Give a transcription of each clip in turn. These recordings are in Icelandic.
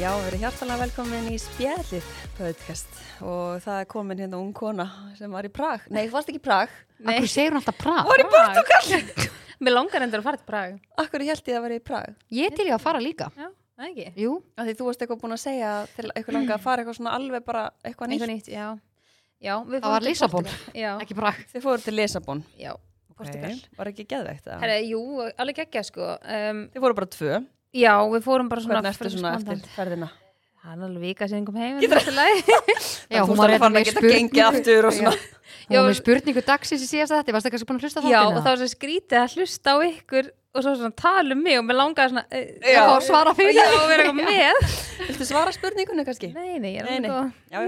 Já, við erum hjartalega velkomin í spjallið podcast og það er komin hérna ung kona sem var í Prag. Nei, þú varst ekki í Prag. Nei. Akkur segir hún alltaf praf? Var í Prag. Portugal. Mér langar endur að fara til Prag. Akkur held ég að vera í Prag? Ég til ég að fara líka. Já, það ekki. Jú, Af því þú varst eitthvað búin að segja til eitthvað langa að fara eitthvað svona alveg bara eitthvað nýtt. Eitthvað nýtt, já. Já, við það var til Lissabon, Portúgal. Já, ekki Prag. Þið fóru til Lisabon. já. Portugal. Var ekki geðveikt það? Herra, jú, alveg ekki að sko. Um, Þið fóru bara tvö. já, við fórum bara svona. Hvernig ertu fyrir svona spontan. eftir ferðina? Það er alveg vika síðan kom heim. Getur það? Já, Þú varst hún var að hérna fara með að geta gengið spurningu. aftur og svona. Hún var Já, með spurningu dagsins í síðasta þetta. Varst það kannski búin að hlusta á Já, þáttinn og eða? það var svo skrítið að hlusta á ykkur og svo svona tala um mig og mér langaði svona. eh, Já. Það var svara fyrir. Já, og vera eitthvað með. Viltu svara spurningunni kannski? Nei, nei, sko. ég er Nei, nei. alveg góð. Já, já.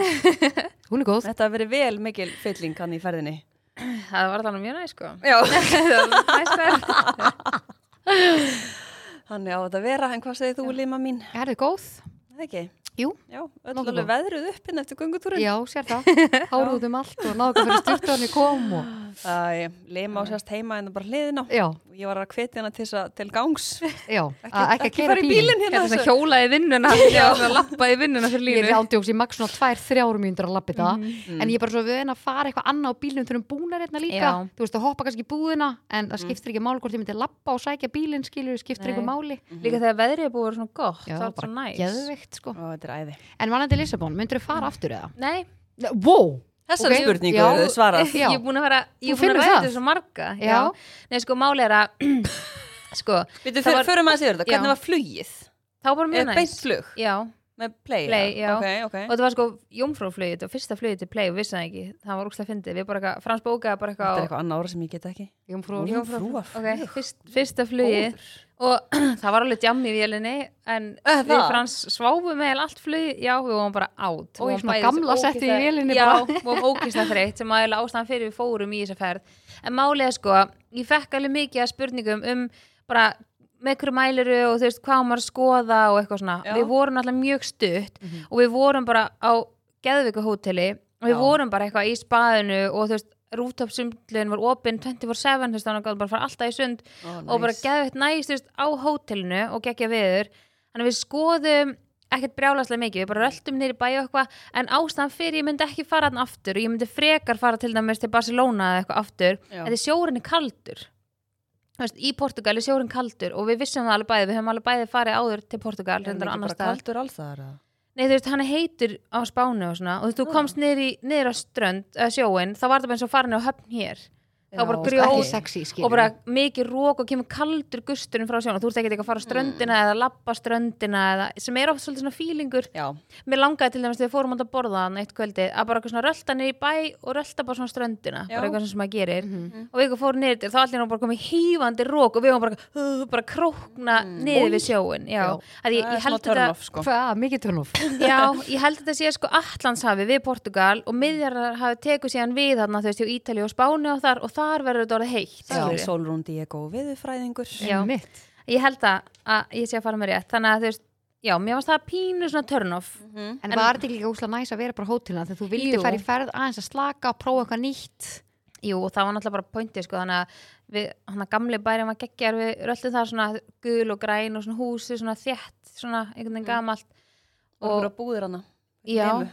Hún er góð. þetta hafi verið vel mikil fylling hann í ferðinni. Það var þannig mjög næst, sko. Já. Það var sko. næst verð. Hann er á þetta að vera, en hvað segir þú, Lima mín? Er þið góð? Það ekki? Jú. Já, öll Nokkuð alveg góð. veðruð upp inn eftir göngutúrin. Já, sér það. Háruðum allt og náðu ekki að fyrir styrtuðan í kom og... Æ, Lima á sérst heima en það bara hliðin á. Já, Ég var að hvetja hana til, þess að- til gangs. já. Að ekki fara að keira í bílinn. bílinn Þetta hérna. er svona þessu. hjólaði vinnuna, já, svona lappaði vinnuna fyrir Ég línu. er ándjóks, ég maks svona tvær, þrjárum mínútur að lappi það en ég er bara svo vöðin að fara eitthvað annað á bílnum þegar um búnar hérna líka Já. þú veist að hoppa kannski í búðina en það skiptir ekki mál hvort ég myndi lappa og sækja bílinn skilur, Nei. skiptir ekki máli Líka þegar veðrið er búið að vera svona gott, Mhm. Já, það var svo bara næs. geðveikt sko Ó, þetta er æði. En varandi Lissabon, myndur þú fara aftur eða? Nei, Wow! Þessari Ok, spurningu já. eru þau svarað. Já. ég er búin að vera, ég er búin Þú að finnur vera það? þessu marga. Já. Nei, sko, máli er að, sko, Við Það var- förum aðeins yfir þetta. Hvernig Já. var flugið? það var bara mjög Eða næs. beint flug? Já, Með play? Play, eða? já. Ok, og ok. þetta var sko jómfrúflögið og fyrsta flögið til play og vissi það ekki, það var úkslega fyndið, við bara eitthvað, Frans bókaði bara Þetta er eitthvað á, eitthvað annað orð sem ég get ekki. Jómfrú Jú, frúa ok, flug. fyrst, fyrsta flögið og það var alveg djamm í vélinni en Eh, við það? Frans sváfum með allt flögið, já, við vorum bara átt Og Við í vorum svona bæði gamla svo setti í ógeðslega- vélinni já, bara. við vorum ókýrslega þreytt sem aðeins ástæðan fyrir við fórum í þessa ferð en málið er sko, ég fekk alveg mikið að spurningum um bara með hverju mæliru og þú veist hvað á maður að skoða og eitthvað svona, Já. við vorum alltaf mjög stutt Mhm. og við vorum bara á Geðvika hóteli og við Já. vorum bara eitthvað í spaðinu og þú veist rúftopsundlun var opinn 24-7 þú veist þannig að gáðum bara að fara alltaf í sund og bara geðveitt næst þú veist, á hótelinu og geggja viður þannig að við skoðum ekkert brjálaslega mikið, við bara röltum niður í bæu eitthvað en ástæðan fyrir ég myndi ekki fara hann aftur og ég myndi frekar fara til dæmis til Barcelona eða eitthvað aftur, Já. en því sjórinn er kaldur Þú veist, í Portugal er sjórinn kaldur og við vissum það alveg bæði, við höfum alveg bæði farið áður til Portugal, reyndar á annar bara stað kaldur alls það. Nei, þú veist, hann er heitur á spánu og svona og þú Ah. veist, þú komst niður, í, niður á strönd, uh, sjóin, þá var það bara eins og farin á höfn hér þá bara Ekki grjóð sexy, skilur og bara mikið rók og kemur kaldur gusturinn frá sjónu, þú ert ekki eitthvað að fara á ströndina eða lappa ströndina eða, sem er oft svolítið svona fílingur Já, mér langaði til dæmis þegar við fórum átt að borða hann eitt kvöldi að bara eitthvað svona rölda niður í bæ og rölda bara svona ströndina, Já. Mhm. bara eitthvað sem maður gerir og við eitthvað fórum niður til þá allir hann bara komið hýfandi rók og við varum bara, uh, bara krókna niður við sjóin já, Já. Að ég, Mm. það ég er smá held þetta törnof sko. Hvað, mikið törnum Já, ég held að þetta sé sko Allandshafi við Portugal og miðjarðar hafi tekuð síðan við þarna þú veist, hjá Ítali og Spáni og þar og þar verður þetta orðið heitt. Það er skilurðu. Solrún Diego viðurfræðingur. Já. Mitt Ég held að, að ég sé að fara með rétt, þannig að þú veist, já, mér varst það pínu svona turn off. Mhm. En var þetta ekki líka úslega næs að vera bara á hótelina þegar þú vildi Jú. fara í ferð aðeins að slaka og prófa eitthvað nýtt Jú, og það var náttúrulega bara pointið sko, þannig að við, hann að gamli bærin var geggjar, við röldum það svona gul og græn og svona húsi, svona þétt, svona einhvern Mm. veginn gamalt. Og bara búðir hana. Já, Neimu.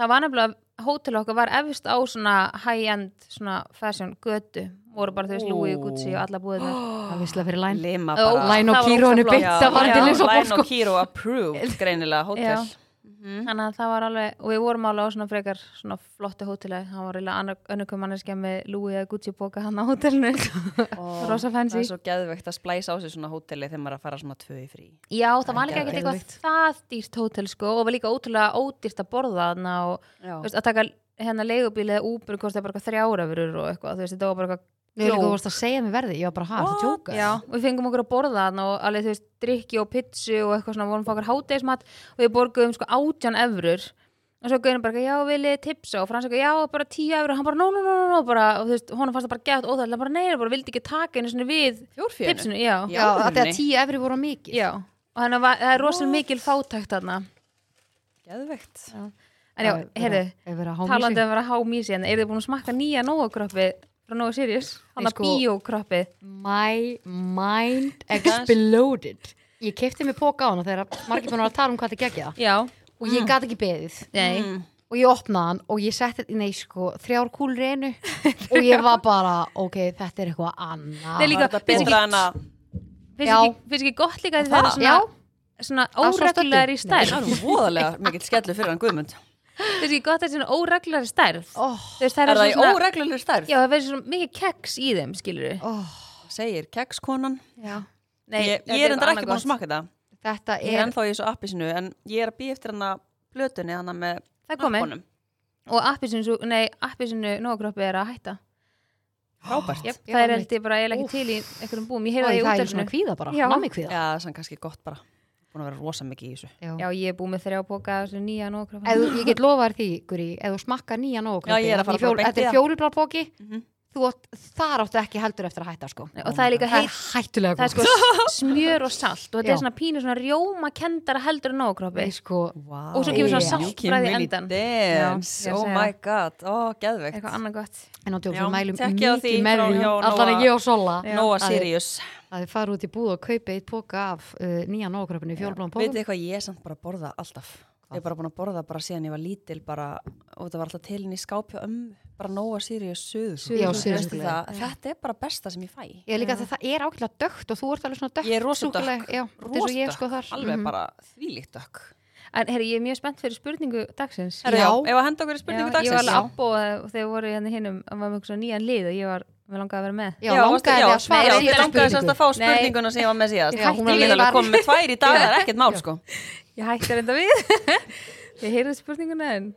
það var nefnilega hótel okkar var efst á svona high-end svona fashion götu voru bara þú veist Louis Gucci og alla búið Það visslega fyrir læn Lima Ó, bara. Læn Oh. það var og kýrónu ógeðslega byggt flott. að fara Já, til Lissabon Line sko og Kiro approved greinilega Já. Mhm. hótel þannig að það var alveg, og við vorum alveg á svona frekar svona flottu hóteli, það var reyla önnugum manneskja með Louis eða Gucci bóka hann á hótelinu Rosa Það fancy er svo geðvegt að splæsa á sig svona hóteli þegar maður er að fara svona tvö í frí Já, það var líka geðveikt. ekkert eitthvað það dýrt hótel sko og var líka ótrúlega ódýrt að borða þarna og Já, þú veist, að taka hérna leigubíl eða Uber kostaði bara eitthvað þrjárafurur og eitthvað, þú veist, þetta var bara eitthvað Nei, líka djók. þú varst að segja mér verði Ég var bara, ha, What? það tjóka Já, við fengum okkur að borða þarna og alveg þú veist, drikki og pitsu og eitthvað svona, vorum að fá okkur hátegismat og við borguðum sko átján evrur og svo gauðin bara, já, viljið þið tipsa og frans ekki, já, bara tíu evrur, hann bara, no, no, no, no, no bara, og þú veist, honum fannst það bara gett óþægilega, bara nei, hann bara vildi ekki taka einu svona við fjórfjörn tipsinu, já, Já. já, Já, af því að alvörunni. tíu efri voru mikið og þannig að va- það er rosalega mikil fátækt þarna, Geðvegt en já, heyrðu, talandi heyrðu um að vera hámísi, en eru þið búin að smakka nýja nógakroppi frá Nóa Sirius, hann að sko- bíókroppi, My mind exploded ég kefti mér póka á hana þegar margir búin að tala um hvað það gegja já, og Mm. ég gat ekki beðið nei og ég opnaði hann og ég setti, nei sko, þrjár kúlur í einu og ég var bara, ok, þetta er eitthvað Nei, annað líka, Var þetta finnst betra en að finnst Já. ekki, finnst ekki gott líka því það er svona, Já, svona svo óreglulegar í stöddu. Það stærð er nú voðalega mikill skellu fyrir hann Guðmund finnst ekki gott að það er svona óreglulegar í stærð ó, Þú veist, það Er er, það í svona, óreglulegur stærð? já, það verður svona mikið keks í þeim, skilur ó, Segir kekskonan já Ég, ég er endar ekki búin að smakka þetta Þetta Ég er er, ennþá í þessu appi sinu En ég er að býja eftir hann að blötunni hann með Það komi, nappunum. og appisinu, nei, appisinu nógrópi er að hætta Frábært Jep, Já, það er mitt. held ég bara, ég er ekki Úff. til í einhverjum búum, ég ó, heyrði það í það er svona útelsinu kvíða bara, Já. nammi kvíða Já, það er kannski gott bara Búin að vera rosa mikið í þessu Já, ég er búin með þrjá póka, þessu nýja nógrópi Ef þú- ég get lofað þér því, Guri, ef þú smakkar nýja nóg Já, ég er að fara bara beint í Þetta það. er fjólublárbóki Mhm. Þú átt, þar áttu ekki heldur eftir að hætta sko og það er líka Það er heit, hættulega það er gott sko s- smjör og salt og þetta Já. er svona pínu svona rjóma kendara heldur en nógrópi Nei, sko, wow. Og svo kemur svona saltbragð í endan. Já, dance. ég Oh segi my það. god, ó, oh, geðvegt eitthvað annað gott en á djók, Já, við mælum tekki á því mikið með frá því hjá Allan Nóa. að ég og Sola Nóa Það er- Sirius að þið fara út í búð og kaupa eitt póka af uh, nýja nógröpunni í fjólblóðan Veitu pókum eitthvað, ég er samt bara að borða alltaf Ég er bara búin að borða bara síðan ég var lítil bara, og þetta var alltaf til henni í skápja um bara Nóa Sirius suður Já, Veistu suðursúkkulaði. það? Þetta er bara besta sem ég fæ Ég er líka að það er ákveðlega dögt og þú ert alveg svona dögt Ég er rosa dökk. Já, þetta er svo ég sko þar alveg Mhm. bara þvílíkt dökk En herri, ég er mjög spennt fyrir spurningu dagsins Herra, já, Já. ef að henda okkur í spurningu Já, Ég var dagsins alveg app og eh, þegar voru hérna hinnum að maður mjög svona nýjan lið og ég var, við langaði að vera með Já, langaði þið að nei, svara já, Ég síðan langaði sérst að spurningu fá spurninguna sem ég var með síðast Já, hún var Ég með er alveg bara- komið með tvær í dag, það er ekkert mál sko Ég hætti reynda við Ég heyrði spurninguna en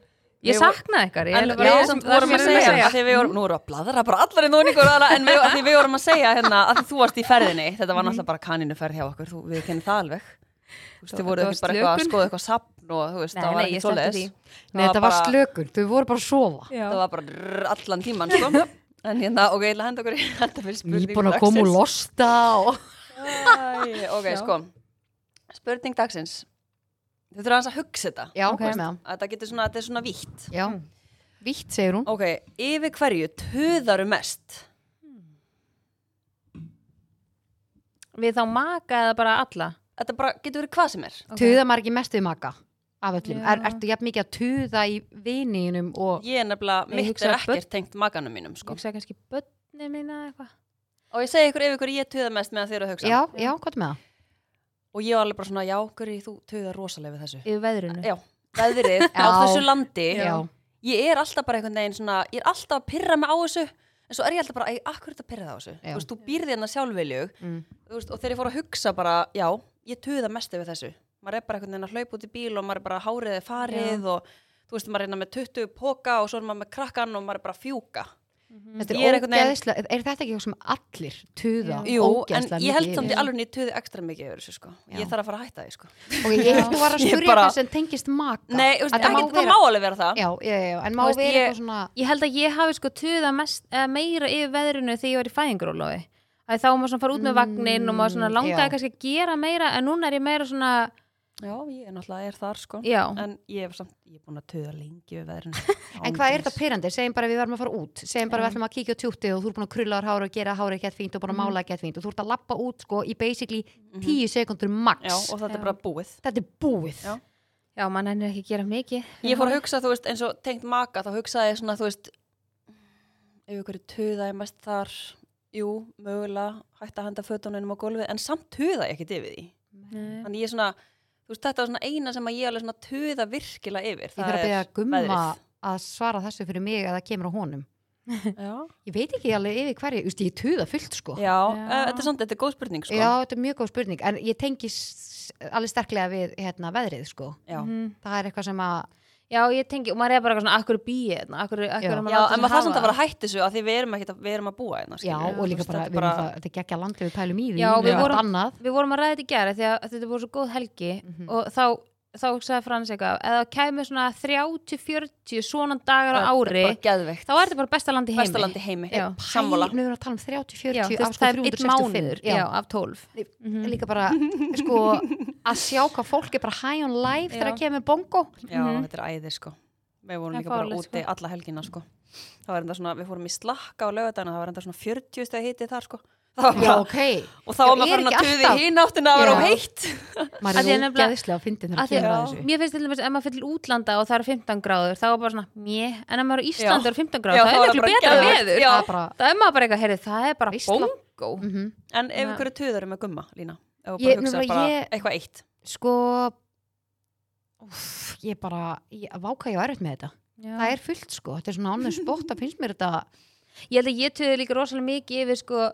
Ég Við vorum- saknaði ykkar ég En er við bara- já, það sem- samt það vorum sem að ég er segja, að því við vorum, nú erum við að bladra bara allar í núningur og alla, en við, að því við vorum að segja hérna að því þú varst í ferðinni, þetta var náttúrulega bara kanínuferð hjá okkur, þú, við kennum það alveg. Þú veist, þið voru það ekki var bara eitthvað að slökun. skoða eitthvað sapn og þú veist, Nei, það nei, var ég ekki sleppti svoleiðis. því. Nei, þetta var slökun, þau voru bara að sofa Já. Það var bara rrr, allan tíman, sko. En hérna, ok, ég ætla að henda okkur í þetta fyrir spurning Nýbúin að koma úr losta og Æ, ok, Já. sko, spurning dagsins. Þau þurfa aðeins að hugsa þetta. Já, Ok. hvað með það? Þetta getur svona, þetta er svona vítt. Já, vítt segir hún Ok, yfir hverju töðaru mest? Við þá maka eða bara alla Þetta bara getur verið hvað sem er. Ok. Tuða maður ekki mest við maka af öllum Já. er, Ertu jafn mikið að tuða í vininum og Ég er nefnilega, Ég mitt hugsa er að börn- ekkert tengt maganum mínum Ég sko. hugsaði kannski bönni mína eða eitthvað Og ég segi ykkur yfir ykkur ég töða mest meðan þið eru að hugsa Já, já, hvað með það? Og ég var alveg bara svona, já, hverju þú töða rosalega við þessu Yfir veðrunu Já, veðrið á Já. þessu landi Já, Ég er alltaf bara einhvern veginn svona Ég er alltaf að pyrra mig á þessu En svo er ég alltaf bara, akkur er þetta að pyrra það á þessu Já. Þú veist, þú býrði hérna sjálfviljug Mm. Þú veist, Og þegar ég fór að hugsa bara, já, ég töða mest yfir þessu Maður er bara einhvern veginn að hlaupa út í bíl Og maður er bara hárið er farið Og þú veist, maður er hérna með 20 póka Og svo er maður með krakkan og maður er bara að fjúka Þetta Mm. Ég er er einhvern veginn- ógeðslega, er þetta ekki eitthvað sem allir tuða Já. Jú, en ógeðslega ég held mikið samt í yfir? alveg niður töði ekstra mikið yfir þessu sko. Já. Ég þarf að fara að hætta því sko. Og ég held þú var að Ég spyrja bara- eitthvað sem tengist maka Nei, þú veist, Að það ekki, það má alveg vera það. Já, já, já, en má Þú veist, vera ég- eitthvað svona Ég held að ég hafi sko tuða mest, eða meira yfir veðrinu þegar ég var í fæðingurólofi. Þá var maður svona að fara út með vagnin og maður svona Mm, langaði já. kannski að gera meira en núna er ég meira svona, Já, ég er náttúrulega er þar sko. já, En ég hef samt, ég er búin að töða lengi við veðrinu. En hvað er þetta pyrrandi? Segjum bara að við verðum að fara út Segjum bara að við ætlum að kíkja á tjúttið og þú er búin að krulla þér hára og gera hára ekkert fínt og búin að Mm. mála ekkert fínt og þú ert að lappa út sko í basically 10 sekundur max Mhm. Já, og þetta Já. er bara búið. Þetta er búið Já. já, mann henni ekki að gera mikið. Ég fór að hugsa, þú veist, eins og tengt maka, þá hugsaði ég svona, þú veist, ef ykkur töða ég mest þar, jú, mögulega, hætta að henda fötunum á gólfið, en samt töða ég ekki yfir því. Nei. Þannig ég er svona, þú veist, þetta er svona eina sem að ég alveg svona töða virkilega yfir. Ég þarf að beða gumma að svara þessu fyrir mig að það kemur á honum Já. Ég veit ekki alveg yfir hverju, Þú veist, ég tuða fullt sko Já, eh, þetta er samt, þetta er góð spurning sko. Já, þetta er mjög góð spurning en ég tengi s- alveg sterklega við hérna, veðrið sko Já. Mhm. Það er eitthvað sem að Já, ég tengi, og maður er bara eitthvað svona, akkur býið, akkur, akkur Já. er Já, maður en maður þarf samt að fara að hætti þessu af því við erum, ekki, við erum að búa hérna Já, skilurðu. og Þú líka veist, bara, þetta er við erum það, þetta er ekki ekki að landi við pælum í því Já, við við erum allt vorum- annað Við vorum að ræða þetta í gera því að þetta voru svo góð helgi Mhm. og þá, þá sagði Frans eitthvað, eða það kemur svona 30-40 svona dagar á bara- ári, bara geðveikt, þá er þetta bara besta land í heimi. besta land í heimi Já. sammála, Nú erum við að tala um 30-40 Já, af þú sko veist, það er einn 365. mánuður, Já, já, Mhm. af 12. En líka bara, sko, að sjá hvað fólk er bara high on life þegar Já. það kemur bongo já, Mhm. þetta er æði sko við vorum Það er líka bara fáránlegt, úti alla helgina sko það var enda svona, við fórum í slakka á laugardagina, það var enda svona 40 stegi hiti þar sko það var Já, bara, ok. og þá var Já, maður er farin að ekki tuði alltaf- í hináttina að vera Já. of heitt Maður Af því að er nú nefnilega- geðislega að fyndin Af þegar að því kemur að að þessu. mér finnst til dæmis ef maður fyrir útlanda og það eru 15 gráður þá er bara svona mjö, en ef maður er á Já. Íslandi og er 15 Já, gráður þá það er er það miklu bara betra geðveikt. veður Já. Það er bara, það er maður bara eitthvað, heyrðu, það er bara Veisla. bongo mhm. en ef Nei. ykkur er tuður með gumma lína ef þú Ég- bara hugsa nefnilega, bara ég- eitthvað eitt sko, úff, ég bara, ég váka ég á erfitt með þetta. Það er fullt, sko. Þetta er svona ánum spott að finnst mér þetta, ég held að ég töði líka rosalega mikið yfir sko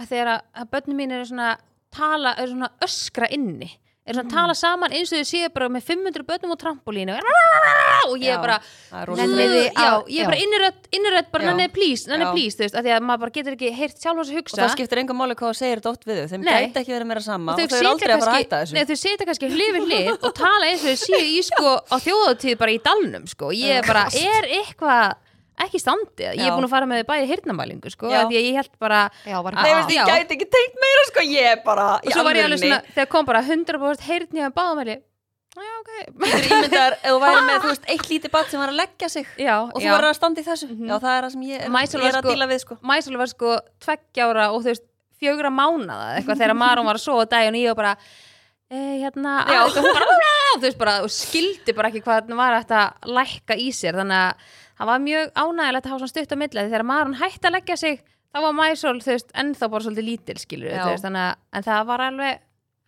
að þegar að, að börnum mín eru svona tala, eru svona öskra inni eru svona Mm. tala saman eins og þau séu bara með 500 börnum á trampolínu og ég Já, er bara það er Nennið rosalega Nenni- þið já, að- ég já. er bara innirödd, innirödd bara Já. nanni please, nanni Já. please þú veist, af því að maður bara getur ekki heyrt sjálf hans og hugsa það skiptir engum máli hvað þú segir þetta oft við þau þeim Nei. gæti ekki verið meira sama Og og þau eru aldrei sitja að fara að kannski- hætta þessu Nei, þau setja kannski hlið við hlið og tala eins og þau séu í sko á þjóðatíð bara í dalnum sko. Ég er bara, er eitthvað ekki standið? Ég er Já. búin að fara með þau bæði hirnamælingu sko, Já. af því að ég held bara já, var Nei, veist, ekki ég Já. gæti ekki tengt meira sko, ég er bara og svo var ég alveg svona, þegar kom bara 100% heyrn ég að báðamæli já, ok ímyndar, ef þú væri með, þú veist, eitt lítið bat sem var að leggja sig já, og þú já. var að standa í þessu já, það er það sem ég er, Mæsól ég er var að sko- díla við sko Mæsul var sko tveggjára og þú veist fjögra mánaða eitthvað þegar Maron var að sofa á daginn og ég var bara eh, hérna, Já. að, hún bara, "Rá!" þú veist bara og skildi bara ekki hvað þetta var hægt að lækka í sér þannig að það var mjög ánægilegt að hafa svona stutt á milli af því þegar Maron hætti að leggja sig þá var Mæsul þú veist ennþá bara svolítið lítil skilur Já. þú veist þannig að en það var alveg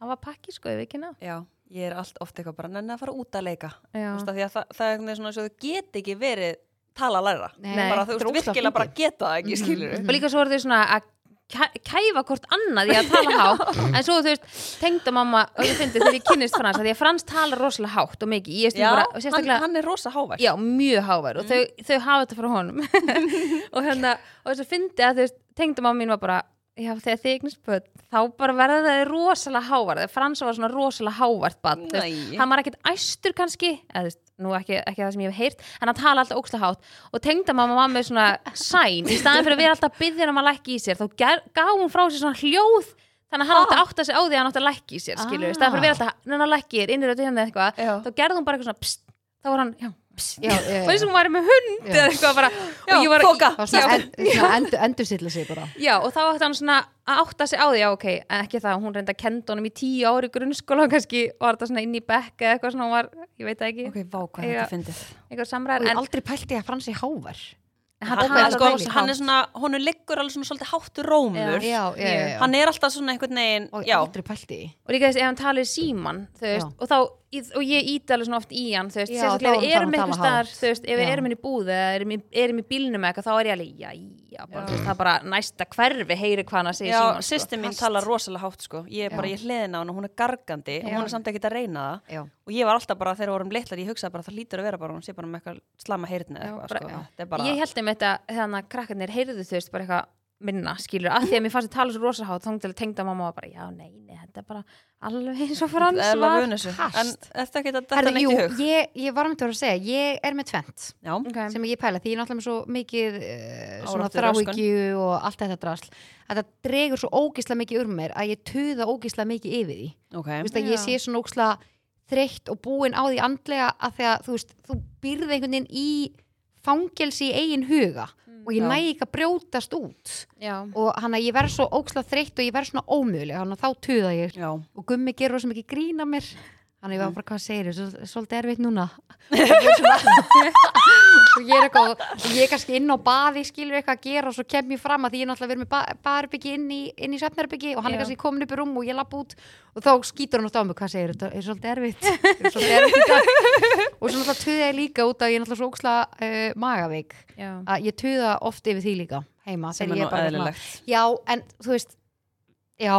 það var pakki sko í vikina já, ég er allt oft eitthvað bara nenni að fara út að leika Þú Já. veist, af því að það, það er einhvern veginn svona eins og þau get ekki verið tala að læra Nei, bara þú þetta er veist, ógeðslega virkilega bara fyndið. geta það ekki, skilur og líka svo voru þau svona að kæ- kæfa hvort annað í að tala hátt en svo þú veist, tengdamamma og ég fyndi þegar ég kynnist Frans, af því að Frans talar rosalega hátt og mikið, já, ég stundum bara hann, og Mhm. sérstaklega, hann er rosa hávær já, mjög hávær og þau, þau hafa þetta frá honum og hérna, og þess að fyndi að þú veist tengdamamma mín var bara, já, þegar þið eignist börn, þá bara verða það rosalega hávær þegar Frans var svona rosalega hávært barn, þú veist, Nei. hann var ekkert æstur kannski eða þú veist, nú ekki, ekki það sem ég hef heyrt en hann tala alltaf óksla hátt og tengda mamma mamma með svona sæn í staðan fyrir að vera alltaf byggðin um að lækki í sér þá ger- gaf hún frá sér svona hljóð þannig að hann átti að átta sig á því að hann átti að lækki í sér skilur, í staðan fyrir að Ah. vera alltaf, neina lækki er innir auðvitað hérna eitthvað, Já. þá gerði hún bara eitthvað svona pst, þá var hann, já, pst, Já, já, og eins og hún væri með hund Já. eða eitthvað bara, Já, og ég var þoka. Það var svona en- svona endur- endursilla sig bara. Já, og þá átti hann svona að átta sig á því, já ok, en ekki það, hún reynda að kenda honum í tíu ári grunnskóla og kannski var þetta svona inn í bekk eða eitthvað svona, hún var, ég veit það ekki ok, vá, hvað Já. þetta fyndið einhver Og samræður ég en aldrei pælti að Fransi hávar. hann hann, talar hann, sko, rosalega hann er hátt. svona, honum liggur alveg svona svolítið háttur rómur Já, já, já. já. hann er alltaf svona einhvern veginn og já, ég aldrei pælti í. og líka þess ef hann talir síman þú veist, Já. og, þá, og ég ít alveg svona oft í hann þú veist, Já, sérstaklega þá ef við þarf erum hann að eitthvað tala staðar hátt. þú veist, ef við Já. erum inn í búð eða erum í, erum í bílnum eða eitthvað, þá er ég alveg já, já, bara, þú veist, það er bara næsta hverfi heyri hvað hann að segja já síman sýsti mín talar rosalega hátt sko. ég er bara, sko. Já. ég hliðin á hann og hún er gargandi og Já. hún er samt ekki að reyna það Já. og ég var alltaf bara, þegar við vorum litlar, ég hugsaði bara það lítur að vera bara, hún sé bara með eitthvað slama heyrni eða Já, eitthvað, bara- sko. já. þetta er bara, ég held um þetta, þannig að krakkarnir heyrðu þú veist, bara eitthvað minna, skilur, af því að mér fannst að tala svo rosa hátt, þá til að tengda mamma var bara, já, nei, nei, þetta er bara alveg eins og frans eða var vönu þessu kast. en eftir ekki að þetta Herðu, er ekki jú, í hug ég, ég var um þetta að segja, ég er með tvent já, okay. sem ég pæla, því ég er náttúrulega með svo mikið uh, svona Áráttu, röskun. þráhyggju og allt þetta drasl að það dregur svo ógislega mikið úr mér að ég tuða ógislega mikið yfir því ok þú veist að ég Já. sé svona ógislega þreytt og búin á því andlega að því að þú veist, þú byrði einhvern veginn í fangelsi í eigin huga og ég Já. næ ekki að brjótast út já, og hann að ég verð svo ógislega þreytt og ég verð svona ómöguleg, hann að þá tuða ég já, og gummi gerur svo mikið grína mér þannig að ég Mm. var bara hvað segir þau, svolítið erfitt núna og ég er svona- og ég er eitthvað og ég er kannski inn á baði, skilur eitthvað að gera og svo kem ég fram að því ég er náttúrulega verið með ba baðarbyggi inn í, inn í svefnarbyggi og Já. hann er kannski komin upp í rúm og ég lapp út og þá skýtur hann alltaf á mig, hvað segir þetta er svolítið erfitt, er svolítið erfitt í dag." og svo náttúrulega töða ég líka út að ég er náttúrulega svo óksla uh, magaveik já, að ég töða oft yfir því líka heima sem er þegar nú ég bara svona- eðlilegt já, en þú veist já,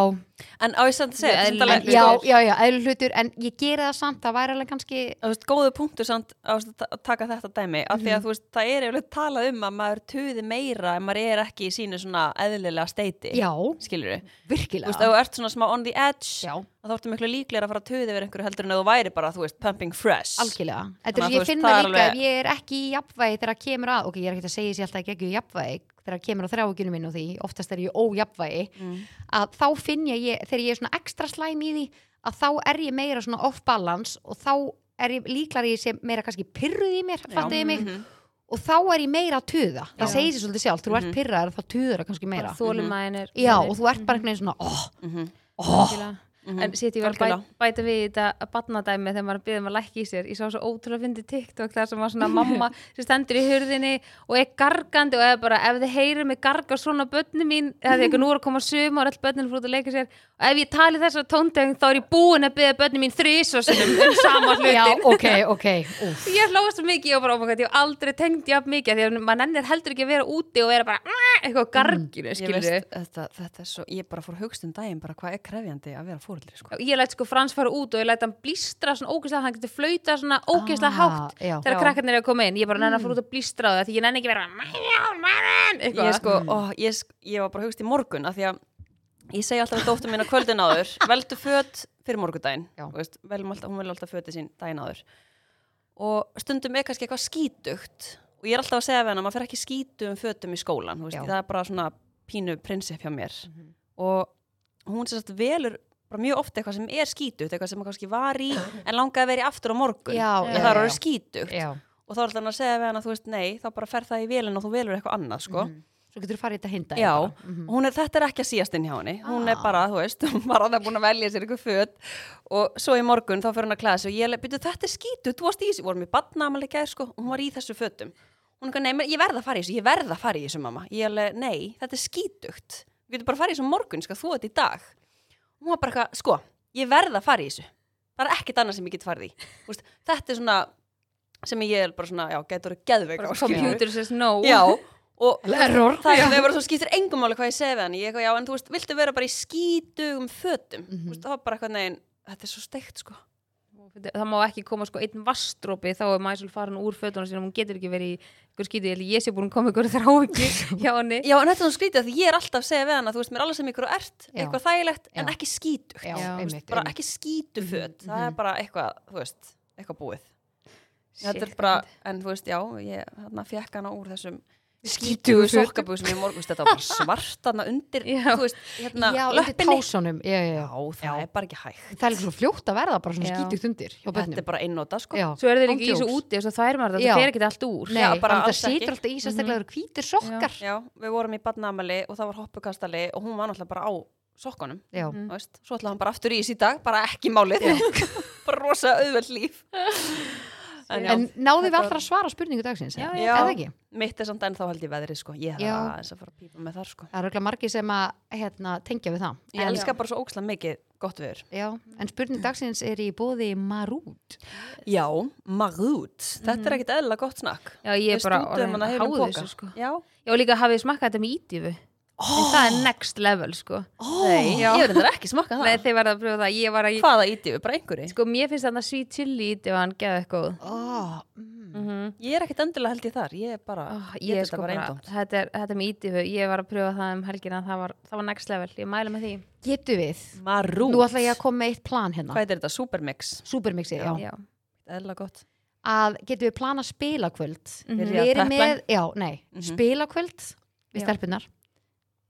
en á ég samt að segja, sko, þetta Mjög er eðlilegt. alveg- en, já, já, já, eðlu hlutur en ég gera það samt, það væri alveg kannski þú veist, góðu punktu samt á þess að ta- taka þetta dæmi af Mhm. því að þú veist, það er yfirleitt talað um að maður tuði meira en maður er ekki í sínu svona eðlilega steiti, já, skilur við þú virkilega veist, ef þú ert svona smá on the edge já, þá ertu miklu líklega að fara að tuði verið einhverju heldur en ef þú væri bara, þú veist, pumping fresh algjörlega þetta Þannig að þú er svo ég veist, finna það er líka alveg- ef ég er ekki í jafnvægi þegar að kemur að ok, ég er ekki að segja sér alltaf ekki ekki í jafnvægi þegar að kemur á þrákjunum minn og því oftast er ég ójafnvægi Mm. að þá finn ég, ég þegar ég er svona ekstra slæm í því að þá er ég meira svona off balance og þá er ég líklar ég sé meira kannski pyrruð í mér, Já. fattuði mig Mhm. og þá er ég meira að tuða það Já. segir sér svolítið sjálf, þú ert Mhm. pyrraður þá tuður það kannski meira þólumæðin er já, og þú ert bara einhvern veginn svona oh, Mhm, oh, Algjörlega. mhm. En sitt ég var að bæ, Algjörlega. bæta við í þetta batnadæmi þegar maður byrðið maður lækki í sér. Ég sá svo ótrúlega fyndið TikTok þar sem var svona mamma sem stendur í hurðinni og er gargandi og er bara ef þið heyrið mig garga svona börnum mín eða því ekki nú er að koma sum og öll börnum frútt að leika sér og ef ég tali þessar tóndegum þá er ég búin að byrða börnum mín þrísosunum um sama hlutin. já, ok, ok úff. Ég hlóði svo mikið og bara, oh my god, ég hef aldrei tengt jafn mikið af því að maður nennir heldur ekki að vera úti og vera bara "Ah", eitthvað á garginu, Mm, Ég skilur veist, þetta, þetta er svo, ég bara fór hugst um daginn bara hvað er krefjandi að vera fóröldri sko. ég læt sko Frans fara út og ég læt hann blístra svona ógeðslega, hann getur flauta svona ógeðslega Ah, hátt já. þegar Já. krakkarnir eru að koma inn, ég bara nenni að fara út og blístra á það því ég nenni ekki vera "Mæjón, mæjón", eitthvað, Ég, sko, ó, ég, sk- ég var bara hugst í morgun af því að ég segi alltaf að dóttur minna kvöldin áður veldu föt fyrir morgundaginn Já. Þú veist, velum alltaf, hún vel alltaf fötið sín daginn áður og stundum er kannski eitthvað skítugt og ég er alltaf að segja við hana maður fer ekki skítugum fötum í skólan þú veist, Já. Mhm. það er bara svona pínu prinsip hjá mér og hún sem sagt velur bara mjög ofta eitthvað sem er skítugt eitthvað sem hún kannski var í en langaði að vera í aftur á morgun Já, en já, það já, eru já. skítugt já, og þá er alltaf hann að segja við hana þú veist nei, þá bara fer það í vélinn og þú velur eitthvað annað sko. Mhm. svo getur þú farið í þetta hinda Já, og hún er, þetta er ekki að síast inn hjá henni hún er Ah. bara, þú veist, hún var að það búin að velja sér ykkur föt og svo í morgun þá fyrir hún að klæða sig og ég byrju þetta er skítu, þú varst í þessu, vorum í badnamalega gær sko og hún var í þessu fötum hún er eitthvað, nei, men- ég verð að fara í þessu, ég verð að fara í þessu mamma ég alveg, nei, þetta er skítugt við getum bara að fara í þessu á morgun, sko, þú þetta í dag hún var bara eitthvað, sko, ég verð að fara í þessu það er ekkert annað sem ég get farið í Þú veist, þetta er svona sem ég er bara svona, já, getur þú geðveik á, bara skilurðu. computer says no Já, og error það er bara svo skiptir engum máli hvað ég segi við hann ég eitthvað já en þú veist, viltu vera bara í skítugum fötum mm Mhm. veist, það var bara eitthvað negin þetta er svo steikt sko það má ekki koma sko einn vastrópi þá er maður farin úr fötunum sinum, hún getur ekki verið í ykkur skítið, ég held ég sé búin að koma ykkur þrá ekki hjá henni já en þetta er svo skrítið af því ég er alltaf að segja við hann að þú veist, mér er alveg sem ykkur og ert Já. eitthvað þægilegt en Já. ekki skítugt já, Já, einmitt, bara einmitt. ekki skítuföt það er bara eitthvað, þú veist, eitthvað búið Shit. þetta er bara, en þú veist, já ég hann fekk hana úr þessum skítugu Skítugu fötum. sokkabúð sem ég morgun þetta var bara svart hann undir, Já. þú veist, hérna já, undir löppinni. tásunum já, já, já. já, það er bara ekki hægt það er líka svo fljótt að verða bara svona Já. skítugt undir hjá þetta er börnum bara einnóta sko Já, svo er þeir án ekki í þessu djóks. úti og svo þær maður þetta, Já. það fer ekki allt úr Nei, Já, bara en það alls situr ekki. alltaf í sérstaklega mm hvítir sokkar Já, við vorum í badnamali og það var hoppukastali og hún var náttúrulega bara á sokkunum Já. þú veist, svo ætlaði hann bara aftur í þessi dag bara ekki málið, bara rosa auðveld líf en já, En náðum við allra að svara spurningu dagsins Já, eða? já. Eða ekki? mitt er samt ennþá held í veðrið sko, ég Já. hef aðeins að fara að pípa með þar sko Það eru örugglega margir sem að hérna, tengja við það ég En- elska bara svo ókslega mikið gott viður Já, en spurning dagsins er í bóði Marút. Já, marút, þetta er ekkit eðla gott snakk já, ég er bara stútum hann að orðin heilum háð póka þessu sko Já, Já, og líka hafið smakkað þetta með ítífu En það er next level, sko nei, Já. ég er þetta ekki smakka Nei, það þeir verða að pröfa það Ég var að, Hvaða ítífi, bara einhverju sko, mér finnst þarna sweet chili ítífan geða eitthvað Oh, mm. mm -hmm. Ég er ekkit endilega held í þar, ég er bara Ég get er sko þetta bara bara, eintómt þetta er, þetta er með ítífu Ég var að pröfa það um helgina, það var, það var next level Ég mæla með því Getu við. Marút Nú ætla ég að koma með eitt plan hérna. hvað heitir þetta, supermix Supermixi, já. Já, eðla gott Að getu við plana spilakvöld. Mhm. Byrja Við að erum með, preppa. já, nei, Mhm. spilakvöld við Já. stelpunar.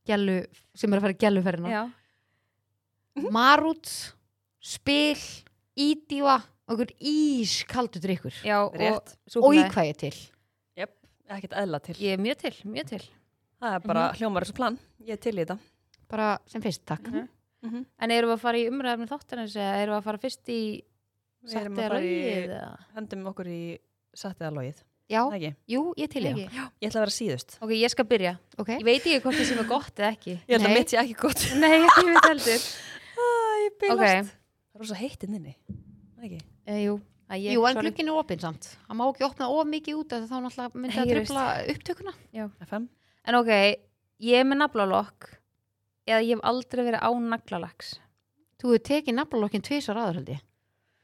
Gjallu, sem er að fara í gjalluferðina. já. Mhm. Marút, spil, ídíva, okkur ískaldu drikkur. já og, Rétt. Og í súkkulaði. hvað ég til. ekkert eðla til Ég er mjög til, mjög til það er bara hljómar þessu plan, ég er til í þetta Bara sem fyrst, takk. Mhm. En erum við að fara í umræðum þáttanins eða erum við að fara fyrst í Við erum að Satt er fara í- rauðið eða? hendum okkur í satt eða logið Já, ekki, jú, ég til ég. Ekki? ég ætla að vera síðust Ok, ég skal byrja Ok, Ég veit ekki hvort það sem er gott eða ekki ég held Nei. að mitt sé ekki gott Nei, ég veit heldur ég Ok, það er rosa heittinn inni ekki e, jú að ég- Jú, en sorry. glukkinn er opinn samt. Það má ekki opna of mikið út af því þá náttúrulega myndi Nei, að ég veist. tröfla upptökuna. FM En ok, ég er með naflalokk eða ég hef aldrei verið á naglalags. Þú hefur tekið nafnalokkin tvisar aður held ég.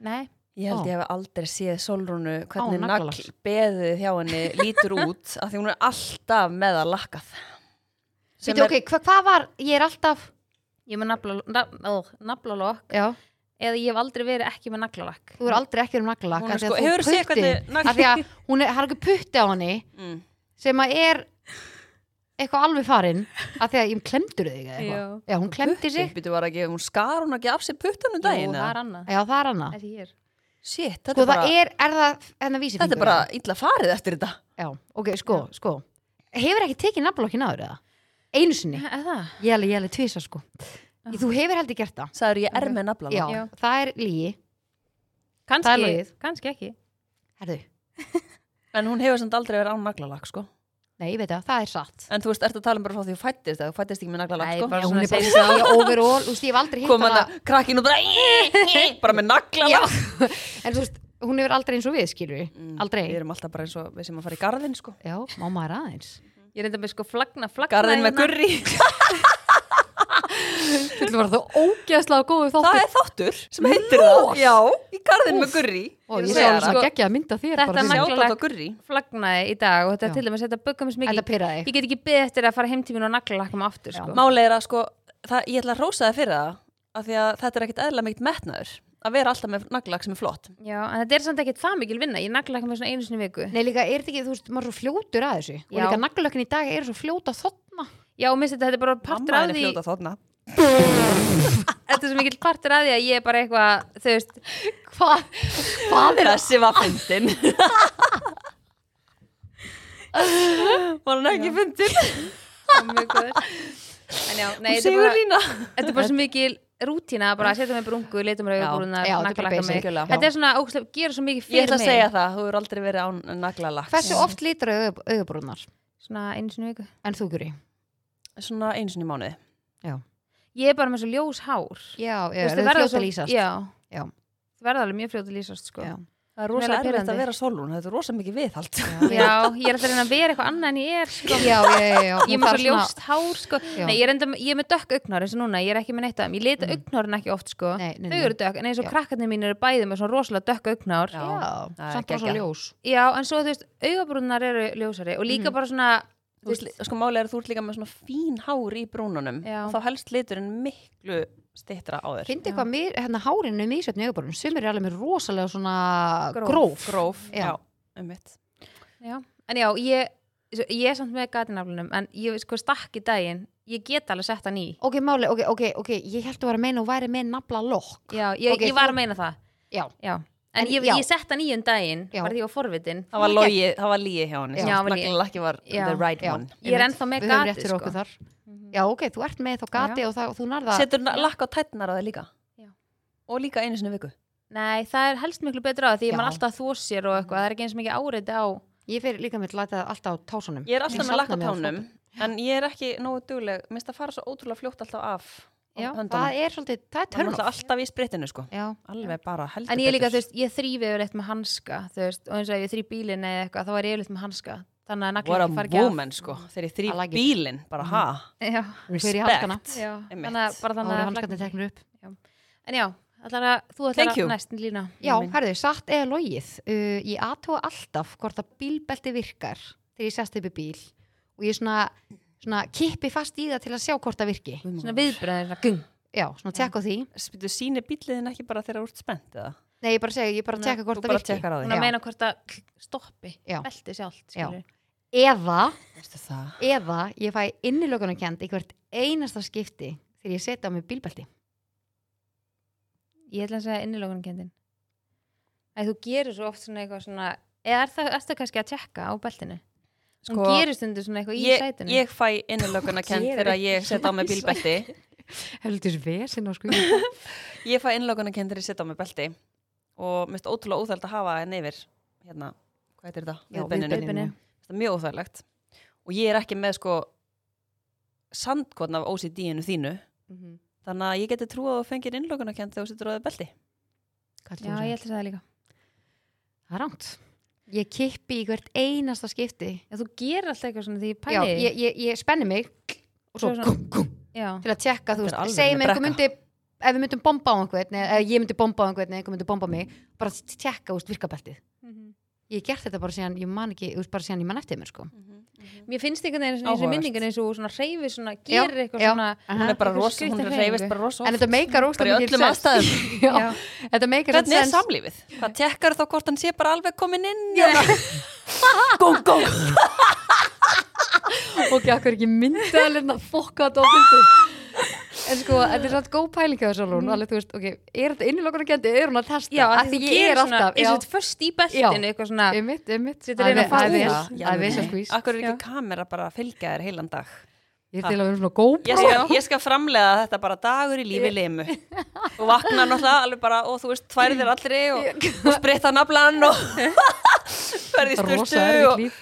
Nei. Ég held Ó. ég hef aldrei séð Solrúnu hvernig naglalakk. nagl beðið hjá henni lítur út af því hún er alltaf með að lakkað Sem Veitu, er- ok, hva, hvað var, ég er alltaf, Ég er með nafla- nafn- ó, naflalokk já, eða ég hef aldrei verið ekki með naglalakk. þú er aldrei ekki um naglalak. Hún er sko- hefurðu séð hvernig nagl- Af því að hún er, það er ekki putti á henni mm. sem að er eitthvað alveg farinn af því að ég klemdur þig eða eitthvað. Jú. Já, hún klemdi sig. Putti, býtu, var ekki, hún skar hún ekki af sér puttanum Jú, Um daginn það er eða? annað. Já, það er hana. Þessi hér. Shit, þetta Sko er bara, það er, er það hennar vísi þetta er bara illa farið eftir þetta. Já, ok, sko, sko Hefur ekki tekið nafnblokkin áður eða? Einu sinni, Það? ég alveg, ég alveg tvisa sko Þú hefur heldur gert það Sæður ég Ah. er með naflan. Já, Já. það er lígi Það er Kanski, logið. kannski ekki Mm. Herðu, En hún hefur samt aldrei verið án naglalag, sko. nei, ég veit það, það er satt En þú veist, ertu að tala um bara frá því þú fættist, eða þú fættist ekki með naglalag, Nei, sko. bara Já, svona hún er bara segir svo í overall, þú veist, ég hef aldrei hitt Kom hann hana að krakkin og bara, bara með naglalag. En þú veist, hún hefur aldrei eins og við, skilur við Mm, Aldrei Við erum alltaf bara eins og við sem að fara í garðin, sko. Já, mamma er aðeins Ég reynda með sko flagna, flagna Garðin hérna. með gurri. Þetta var það ógeðslega góðu þáttur það er þáttur sem heitir það. Já, í garðin með gurri. Ó, Ég ég er að sá segja það. alveg svo sko, geggja að mynda þér þetta nagla- bara fyrir- Sjátt á Naglalag. þetta gurri. flagnaði í dag og þetta Já. er til dæmis, þetta bugga mér svo Þetta mikið pyrraði Ég get ekki beðið eftir að fara heimtímin og naglalakka mig aftur sko. Máli er að sko, það, ég ætla að rósa það fyrir það, af því að þetta er ekkit eðla meitt metnaður, að vera alltaf með naglag sem er flott. Já, en þetta er samt ekkert það mikil vinna Ég naglalakka mig svona einu sinni í viku Nei, líka, er þetta ekki, þú veist, maður er svo fljótur að þessu Og Já. líka naglökin í dag er svo fljóta þotna Já, og minnst þetta, þetta er bara partur Mamma af er því fljóta þóna. Þetta er svo mikil partur af því að ég er bara eitthvað Þú veist, Hvað? Hvað er það? Þessi var fyndin. var hann ekki fyndin? það er mjög góður En já, nei, Hún þetta er bara sigur lína. Þetta er bara svo mikil rútína bara að setja mig brungu, leita mér Já, auðvitað já, þetta er bara basic, já. Þetta er svona ókslega, gera svo mikið Ég fyrir ætla að mig segja það, þú eru aldrei verið án naglalaks. Hversu oft lítur augabrúnar? Svona einu sinni í viku En þú, Guri? Svona eins og nýjum mánuði. Ég er bara með svo ljós hár Já, Þú já, veist, þau þau verða fljóta svo- lýsast Já, Já. Þau verða alveg mjög fljóta lýsast sko. Já. Það er Hún er rosa alveg erfitt pirrandi. að vera sólun, þetta er rosa mikið viðhald. Já, ég er alltaf að reyna að vera eitthvað annað en ég er sko. Já, já, já, já. Ég er Hún með svo þarf svona- ljóst hár sko. Já. Nei, ég, er enda, ég er með dökk augnhár eins og núna, ég er ekki með neitt af þeim Ég leta mm. augnhárin ekki oft sko. Nei, nei, Þau nei. eru dökk, en eins og Já. krakkarnir mín eru bæði með svona rosalega dökk augnhár Já. Já, Það er samt bara svo geggjað. ljós Já, en svo þú veist, augabrúnar eru ljósari og Mhm. líka bara svona Þú veist, sko málið er að þú ert líka með svona fín hár í brúnunum Já. og þá helst liturinn miklu stittra á þér. Fyndi hvað mér, hérna hárinu er misjöfn í augabrúnum Sumir er alveg með rosalega svona Gróf. gróf Gróf, Já. já, um mitt. Já, en já, ég, svo- ég er samt með gatinaflunum en ég sko stakk í daginn ég get alveg sett hann í Ok, máli, ok, ok, ok Ég held að vera að meina og væri með nafla lokk Já, ég, Ok, ég var þú- að meina það Já, Já, en, En ég, já. ég sett hann í um daginn Já. bara því ég var forvitin Það var logið, það var líið hjá henni. Já, Já, það var lygi. Naglalakki var Já. the right já one. Ég er ennþá með Við höfum gatið, rétt fyrir sko. okkur þar Já, ok, þú ert með þá gati og það, þú nærða Setur na- lakk á tætnar á þig líka. Já. Og líka einu sinni í viku. Nei, það er helst miklu betra á því Já. ég maður alltaf þó sér og eitthvað, það er ekki eins mikið áreiti á Ég fer líka með læta alltaf á tásunum Ég er alltaf með safna lakk á mér tánum, en ég er ekki nógu dugleg. Mér finnst það fara svo ótrúlega fljótt alltaf af á Já, fótum. höndunum. Það er svolítið, það er Það er törn náttúrulega alltaf í spritinu, sko. Já, Alveg bara heldur En ég er líka, þú betur. veist, ég þrýfi yfirleitt með hanska, þú veist, og eins og ef ég þrý bílinn eða eitthvað, þá er ég yfirleitt með hanska þannig What að nagla a ekki fara ekki af. woman, sko. Þegar ég I þrýf like it. bílinn, bara ha. Já, hver í hanskana Respect. já, Einmitt. þannig að bara Ára þannig að hanskarnir teknir upp En já, allar að þú ætlar Thank you. að næst lína Já, Minn. herðu, satt eða logið. Uh, ég aðtóa alltaf hvort að bílbelti virkar þegar ég sest upp í bíl og ég svona, svona kippi fast í það til að sjá hvort það virki. svona viðbröðin, svona gung Já, svona tekka á því. Spytu, síni bíliðin ekki bara þegar þú ert spennt, eða? Nei, ég bara segja, ég bara Nei, tekka hvort Þú það bara virki. tekkar á hún því. er Já. að meina hvort að stoppi, Já. velti sjálft Já. skilurðu. Eða, Veistu það? eða ég fæ innilökunarkend í hvert einasta skipti þegar ég setja á mig bílbelti. ég ætla að segja innilókunkendin að þú gerir svo oft svona eitthvað svona eða er það, ertu kannski að tjekka á beltinu Sko, hún gerir stundur svona eitthvað í Ég, sætinu ég fæ innilökunna kent Gerir þegar ég set á mig bílbelti Heldur vesin á sko. Ég fæ innlokana kent þegar ég setja á mig belti og mér finnst ótrúlega óþægilegt að hafa henni yfir hérna, hvað heitir þetta? Já, Viðbeininu. viðbeininu. Viðbeininu. Þetta er mjög óþægilegt og ég er ekki með sko sandkotn af OCD-inu þínu Mhm. þannig að ég geti trúið að þú fengir innlokana kent þegar þú setur á þig belti já, ég ætla að segja það líka Það er rámt. Ég kippi í hvert einasta skipti. að þú gerir alltaf eitthvað svona því ég Já, pæli því. ég, ég, ég spenni mig og svo Svo svona- kum, kum. já. til að tjekka, Þetta þú er veist, alveg segjum með einhver brekka. myndi ef við myndum bomba á einhvern eða eða ég myndi bomba á einhvern eða einhver myndi bomba mig bara t- tjekka, þú veist, virkabeltið Mhm. ég hef gert þetta bara síðan, ég man ekki, þú veist, bara síðan ég man eftir mér, sko Mhm, mér finnst einhvern veginn svona í þessu Áhugavert. minningan eins og þú svona reyfir svona, gerir eitthvað já. svona Aha. Hún er bara Einhver rosa, hún skrýtin reyfist hreyfingu. bara rosa en oft þetta meikar óstum Bara í öllum aðstæðum. Já. þetta meikar Hvernig er sens. samlífið? Hvað tekkar þá hvort hann sé bara alveg komin inn? eða? Góng, góng ok, akkur ekki myndið að lirna fokka þetta á fundi en sko, þetta er svona góð pælinga þess að hún, Mm. alveg þú veist, ok, er þetta innilokkur að kendi, er hún að testa, já, Af að því þú ég gerir er svona, alltaf, eins og þetta först í beltinu, eitthvað svona, já, Um, einmitt, einmitt, Þetta er eina fast úr. hérna Já, að nei. veist að skvís, Akkur er ekki kamera bara að fylgja þér heilan dag ég er Ah. til að vera svona góð, Ég skal, ég skal framlega þetta bara dagur í lífi limu og vakna náttúrulega alveg bara og þú veist, tværið þér allri og, og spritta naflan og ferði í rosa sturtu erfitt og, líf,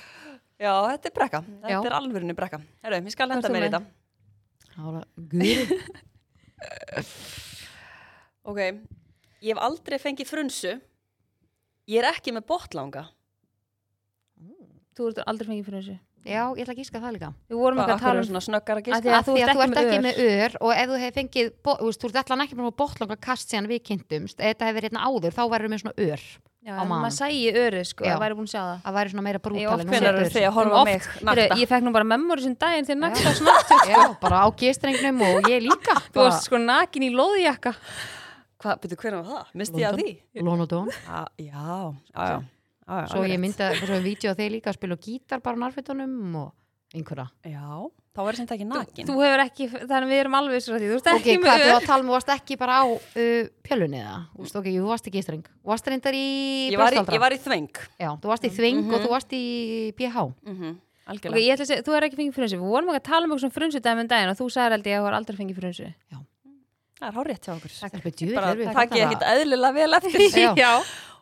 Já, þetta er brekka, þetta Já. er alvörinu brekka Herru, ég skal Hvað henda ert þú mér í með? þetta Ála, guð, Ok, ég hef aldrei fengið frunsu Ég er ekki með bottlanga þú ert aldrei fengið fyrir þessu. já, ég ætla að gíska það líka, Við vorum Hvað eitthvað að akkur tala er um svona snöggar að Af gista því að af því að þú ert ekki ör. með ör og ef þú hefur fengið, bo- þú veist, þú ert allan ekki með bóttlanga kast síðan við kynntumst, ef þetta hefur verið hérna áður, þá verður með svona ör, Já, á en maganum. maður sæi öru, sko, Já. að væri búin að sjá það. að væri svona meira Ég brútal oft en hún Hvenær er eru ör. þið að horfa á mig Heyrðu, nakta? ég fekk nú bara memóri sem daginn þegar nakta svona, já, bara á gestrengnum og ég líka, þú varst sko nakin í loðjakka. Hvað, byrju, hvernig var það? Misti ég að því? Lónodón Já, já, já, já svo ég mynda, svo ég vídeo að þeir líka að spila á gítar bara á narfitunum og einhverja Já, þá verður þetta ekki nakin Þú hefur ekki, þannig að við erum alveg svo að því, þú ert ok, ekki hvað, með þú ör. var að tala um, þú varst ekki bara á uh, pjölunni eða, Þú veist, ok, jú, þú varst ekki í streng Þú varst reyndar í Ég var, í, ég brjóstaldra var í þveng já, þú varst í þving og þú varst í BH mm Ok, Algjörlega ég ætla að segja, þú er ekki fengið frunsu. Við vorum ekki að tala um eitthvað svona frunsu dæmi um daginn og þú sagði held ég að þú var aldrei fengið frunsu. Það er hárétt hjá okkur það er bara djúið Bara takk ég ekkit eðlilega vel eftir því Já.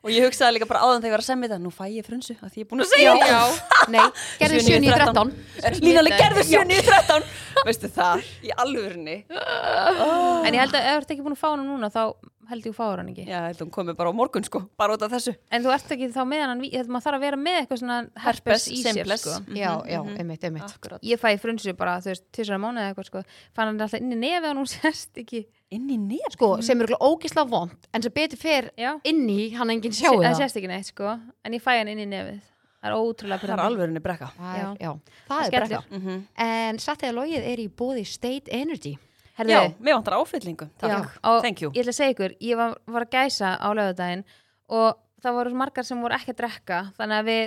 Og ég hugsaði líka bara áðan þegar ég var að semja þetta Nú fæ ég frunsu að því ég er búin að segja Já. nei, gerðu 7 í 13 þetta Línaleg gerðu 7 í 13 Veistu það, í alvörni En ég held að ef þú ert ekki búin að fá hann núna þá held ég að fá hann ekki. Já, þetta komið bara á morgun sko, bara út af þessu En þú ert ekki þá með hann, þetta maður þarf að vera með eitthvað svona herpes Herpes, í sér simples sko. já, já, einmitt, einmitt Akkurat Ég fæ frunsu bara, þú veist, tísra mánuði eða eitthvað sko. Fann hann alltaf inn í nefið og hún sest ekki. Inn í nefn sko, sem eru ógisla vond en sem betur fer Já. inn í hann enginn sjáu Það það sést ekki neitt sko. En ég fæ hann inn í nefið. Það er Það ótrúlega er pirrandi. alvörni brekka Það er- Já. já, það er skellur. brekka Mhm. En satt eða logið er í bóði State Energy. Herðu, Já, mér vantar áfyllingu Takk, Já, og thank you Ég ætla að segja ykkur, ég var, var að gæsa á lögadaginn og það voru margar sem voru ekki að drekka þannig að við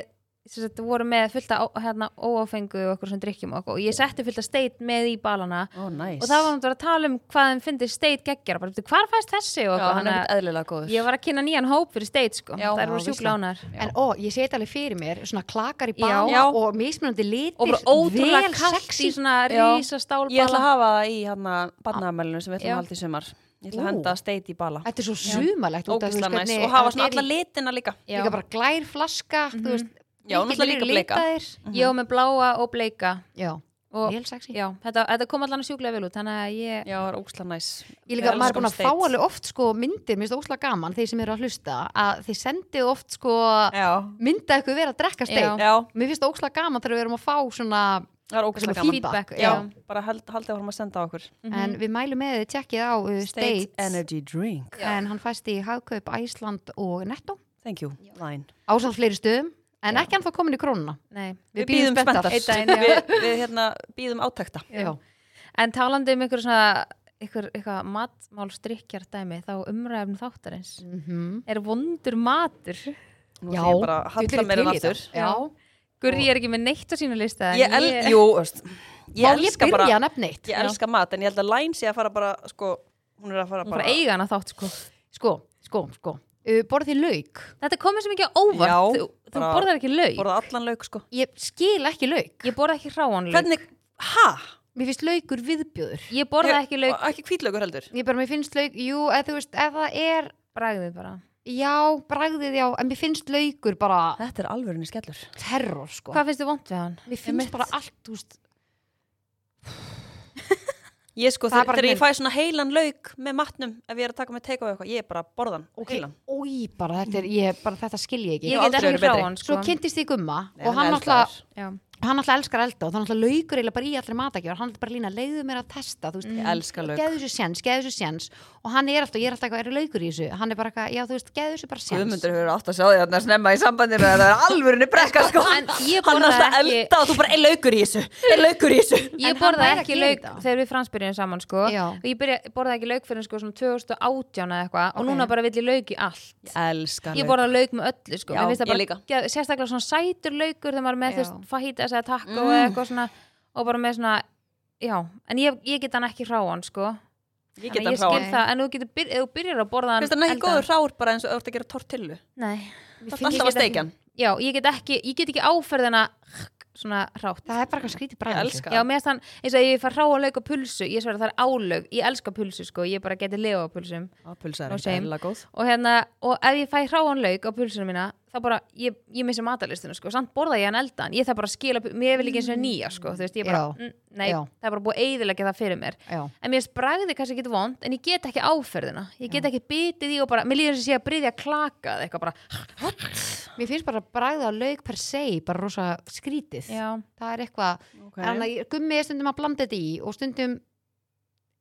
sem sagt, vorum með fullt af ó- hérna, óáfengu og okkur sem drikkjum og, okkur, og ég setti fullt af steit með í balana Ó, næs og það var náttúrulega að tala um hvað þeim fyndi steit geggjara, bara hvað fæst þessi og Já, okkur, hann er ekkert að eðlilega góður ég var að kynna nýjan hóp fyrir steit sko, Já, það eru já, sjúkla ánar Já. En ó, ég seti alveg fyrir mér svona klakar í Já. bala Já. og mismunandi litir, og bara ótrúlega vel kallt sexy. í svona Já. rísa Ég ætla að stálbala hafa það í hérna barnaðamælinu sem við ætlum Já. að halda í sumar. Ég ætla Ú. að henda steiti í bala. Þetta er svo sumalegt. út af, þú veist, Ógisla næst hvernig- og hafa svona þetta er alla í- litina líka. Já. Líka bara glær flaska, þú veist. Já, mikið náttúrulega líka lirir bleika. litaðir. Mhm. ég var með bláa og bleika Já, og vel sexy. já, þetta, þetta kom allan að sjúklega vel út þannig að ég Já, það er ógisla næs. Ég Með líka, alls maður er búin konar að fá states. alveg oft sko myndir, mér finnst það óslega gaman, þeir sem eru að hlusta, að þeir sendið oft sko Já, mynda eitthvað vera að drekka Já. stein. já, Mér finnst það óslega gaman þegar við erum að fá svona það er ógisla Svona gaman. fín- Feedback, Já, Mhm. já. bara held, haldið vorum að senda á okkur. en við mælum með þið tjekkið á uh, States, Energy Drink. en hann fæst í Hagkaup, Æsland og Netto Thank you, line. ásamt fleiri stöðum, en ekki hann þá komin í krónuna Nei. Við býðum spenntar. Einn daginn, já. Við, við hérna býðum átækta. Já. En talandi um ykkur svona ykkur, ykkur matmálstrykkjar dæmi þá umræðum þáttarins Mhm. Mm -hmm. er vondur matur Nú ætla ég bara að halla mér en aftur. Já. Gurri er ekki með neitt á sínu lista en Ég, el, jú, veist, ég Má ég elska byrja bara, að nefna eitt? ég elska mat, en ég held að line sé að fara bara, sko, hún er að fara hún fór bara. að eiga hana þátt sko Sko, sko, sko uh, Borðið lauk, Þetta komið sem ekki á óvart Já, þú, þú bara- borðar ekki lauk Borða allan lauk, sko. ég skil ekki lauk Ég borða ekki hráan lauk Hvernig, hæ? Mér finnst laukur viðbjöður Ég borða Ég- ekki lauk og ekki hvítlaugur heldur Ég bara, mér finnst lauk, jú, eða þú veist, ef það er bragðið bara Já, bragðið já, en mér finnst laukur bara Þetta er alvörinni skellur terror, sko Hvað finnst þið vond við hann? Mér finnst bara allt, þú veist Ég sko, Það er þegar bara þegar ég minn. fæ svona heilan lauk með matnum ef ég er að taka með teika og eitthvað, ég er bara að borða hann Ok, heilan. ói, bara þetta, er, ég, bara þetta skil ég ekki Ég hef get aldrei ekki verið betri. hráan Svo sko kynntist ég gumma Nei, og hann er alltaf, elskaður. Já. hann alltaf elskar elda og þannig alltaf laukur eiginlega bara í allir matakjör hann er bara lína, leiðu mér að testa þú veist, Ég elska lauk geðu þessu séns, geðu þessu séns og hann er alltaf, ég er alltaf eitthvað, eru laukur í þessu hann er bara eitthvað, já þú veist, geðu þessu bara séns Guðmundur hefur átt að sjá því að snemma í sambandinu að það er alvörinni brekka sko En Hann er ég borða alltaf ekki- elda og þú bara er laukur í þessu er laukur í þessu Ég En hann borða væri að ekki gera lauk þetta. þegar við fransbyrjum saman sko Já. og ég byrja, borða ekki lauk fyrir sko svona 2018 eða eitthvað og Ok. núna bara vill ég lauk í allt Ég elska Ég borða lauk með öllu sko Já, Mér finnst það ég bara líka. geð- sérstaklega svona sætur laukur þegar maður er með Já. þú veist fajitas eða Mm. taco eða eitthvað svona og bara með svona já, en ég, ég get hann ekki hráan sko Ég Þannig get að ég hann skil ráðan. hráan. það, en þú getur byr, ef þú byrjar að borða hann Finnst það ekki eldaðan- góður rár bara eins og þú ert að gera tortillu? Nei, Það er alltaf að steikja hann. Já, ég get ekki, ég get ekki áferðina svona rátt það er bara eitthvað skrítið Ég bræðið elska Já, það. mér stann, eins og ef ég fær ráa lauk og pulsu ég sverða það er álög, ég elska pulsu sko ég bara geti lefa á pulsum Já, Pulsa er No ekki shame. eðlilega góð. og hérna, og ef ég fæ hráan lauk á pulsunum mína, þá bara, ég, ég missi matalistinu sko, samt borða ég hann eldan, ég þarf bara að skila mér vil ekki eins og nýja sko, þú veist, ég bara Já. mm, nei, Já. það er bara búið eiðilega það fyrir mér Já, en mér spragði kannski ekki vond, en ég get ekki áferðina ég get ekki bitið í og bara, mér líður sem sé að bryðja klaka eða eitthvað bara, mér finnst bara bræðið á lauk per se bara rosa skrítið já, það er eitthvað, Ok. okay. en að ég- gummi er stundum að blanda þetta í og stundum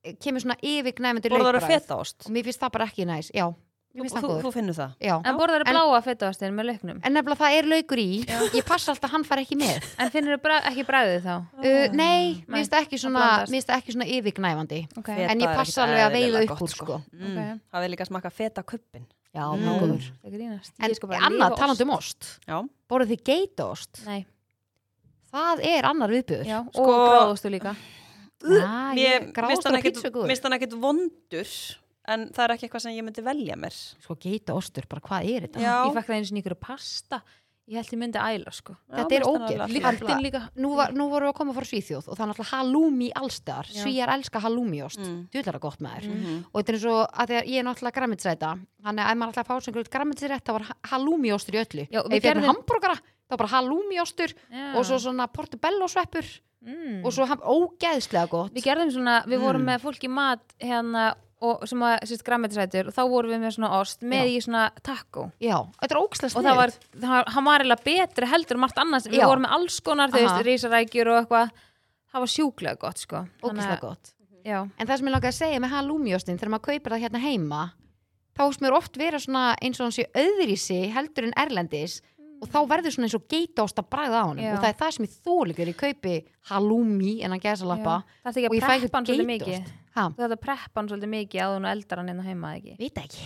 eh, kemur svona yfirgnæmandi Borðar að laukbragð. fetaost. og mér finnst það bara ekki næs já, mér finnst Þú- það Þú góður þú finnur það. já. en borðar en- er bláa fetaostinn með lauknum, en nefnilega það er laukur í ég passa alltaf að hann far ekki með en finnur þú ekki bragðið þá uh, Ah, nei, Nei, mér finnst það ekki svona blandast. mér finnst það ekki svona yfirgnæfandi ok, Feta en ég er passa ekkert alveg að veiða eðlilega upp gott, úr, sko. Mm. Ok. Það er líka að smakka feta kuppin. já, Mm. mjög góður það grínast Ég en sko bara lifa annað ost. talandi um ost Já. borðið þið geitaost Nei, það er annar viðbjöður já, Sko- og gráðostu líka Ah, Mér ég- mér finnst gráðostur hann og pizza ekkit- góður mér finnst hann ekkit vondur, en það er ekki eitthvað sem ég myndi velja mér. sko geitaostur, bara hvað er þetta Já. Ég fekk það eins og nýkur pasta Ég held ég myndi æla sko Já, Þetta mér er finnst hann ógeð. alveg Líka- flott. Lyktin líka nú, var, nú vorum við að koma frá Svíþjóð og það er náttúrulega halloumi allstar Já. svíjar elska halloumiost, mm. Mm. djúlar að gott með þér Mhm. og þetta er eins og að þegar ég er náttúrulega græmitsræta þannig að ef maður alltaf fá sem grúið græmitsrætt þá var halloumiostur í öllu Já, ef við ég fyrir gerðum- hambúrgara þá var bara halloumiostur og svo svona portobello sveppur mm. og svo ham- ógeðslega gott Við gerðum svona, við vorum Mm. með fólk í mat hérna og sem að sérst grammetisætur og þá vorum við með svona ost með í svona taco já, þetta er ógeðslega og snið það var, það var, hann var eiginlega betri heldur en margt annars, við Já. vorum með alls konar þau veist, Aha. rísarækjur og eitthvað það var sjúklega gott sko ógeðslega gott gott Já, en það sem ég langaði að segja með halloumiostin þegar maður kaupir það hérna heima þá finnst mér oft vera svona eins og hann sé öðrísi heldur en erlendis og þá verður svona eins og geitaost að bræða á honum Já. og það er það sem ég þólikur, ég kaupi halloumi en hann gæsa lappa það er ekki og ég að fæ ekkert preppa hann svolítið mikið geitaost ha, Þú þarf að preppa hann svolítið mikið áður og eldar hann inn á heima eða ekki vita ekki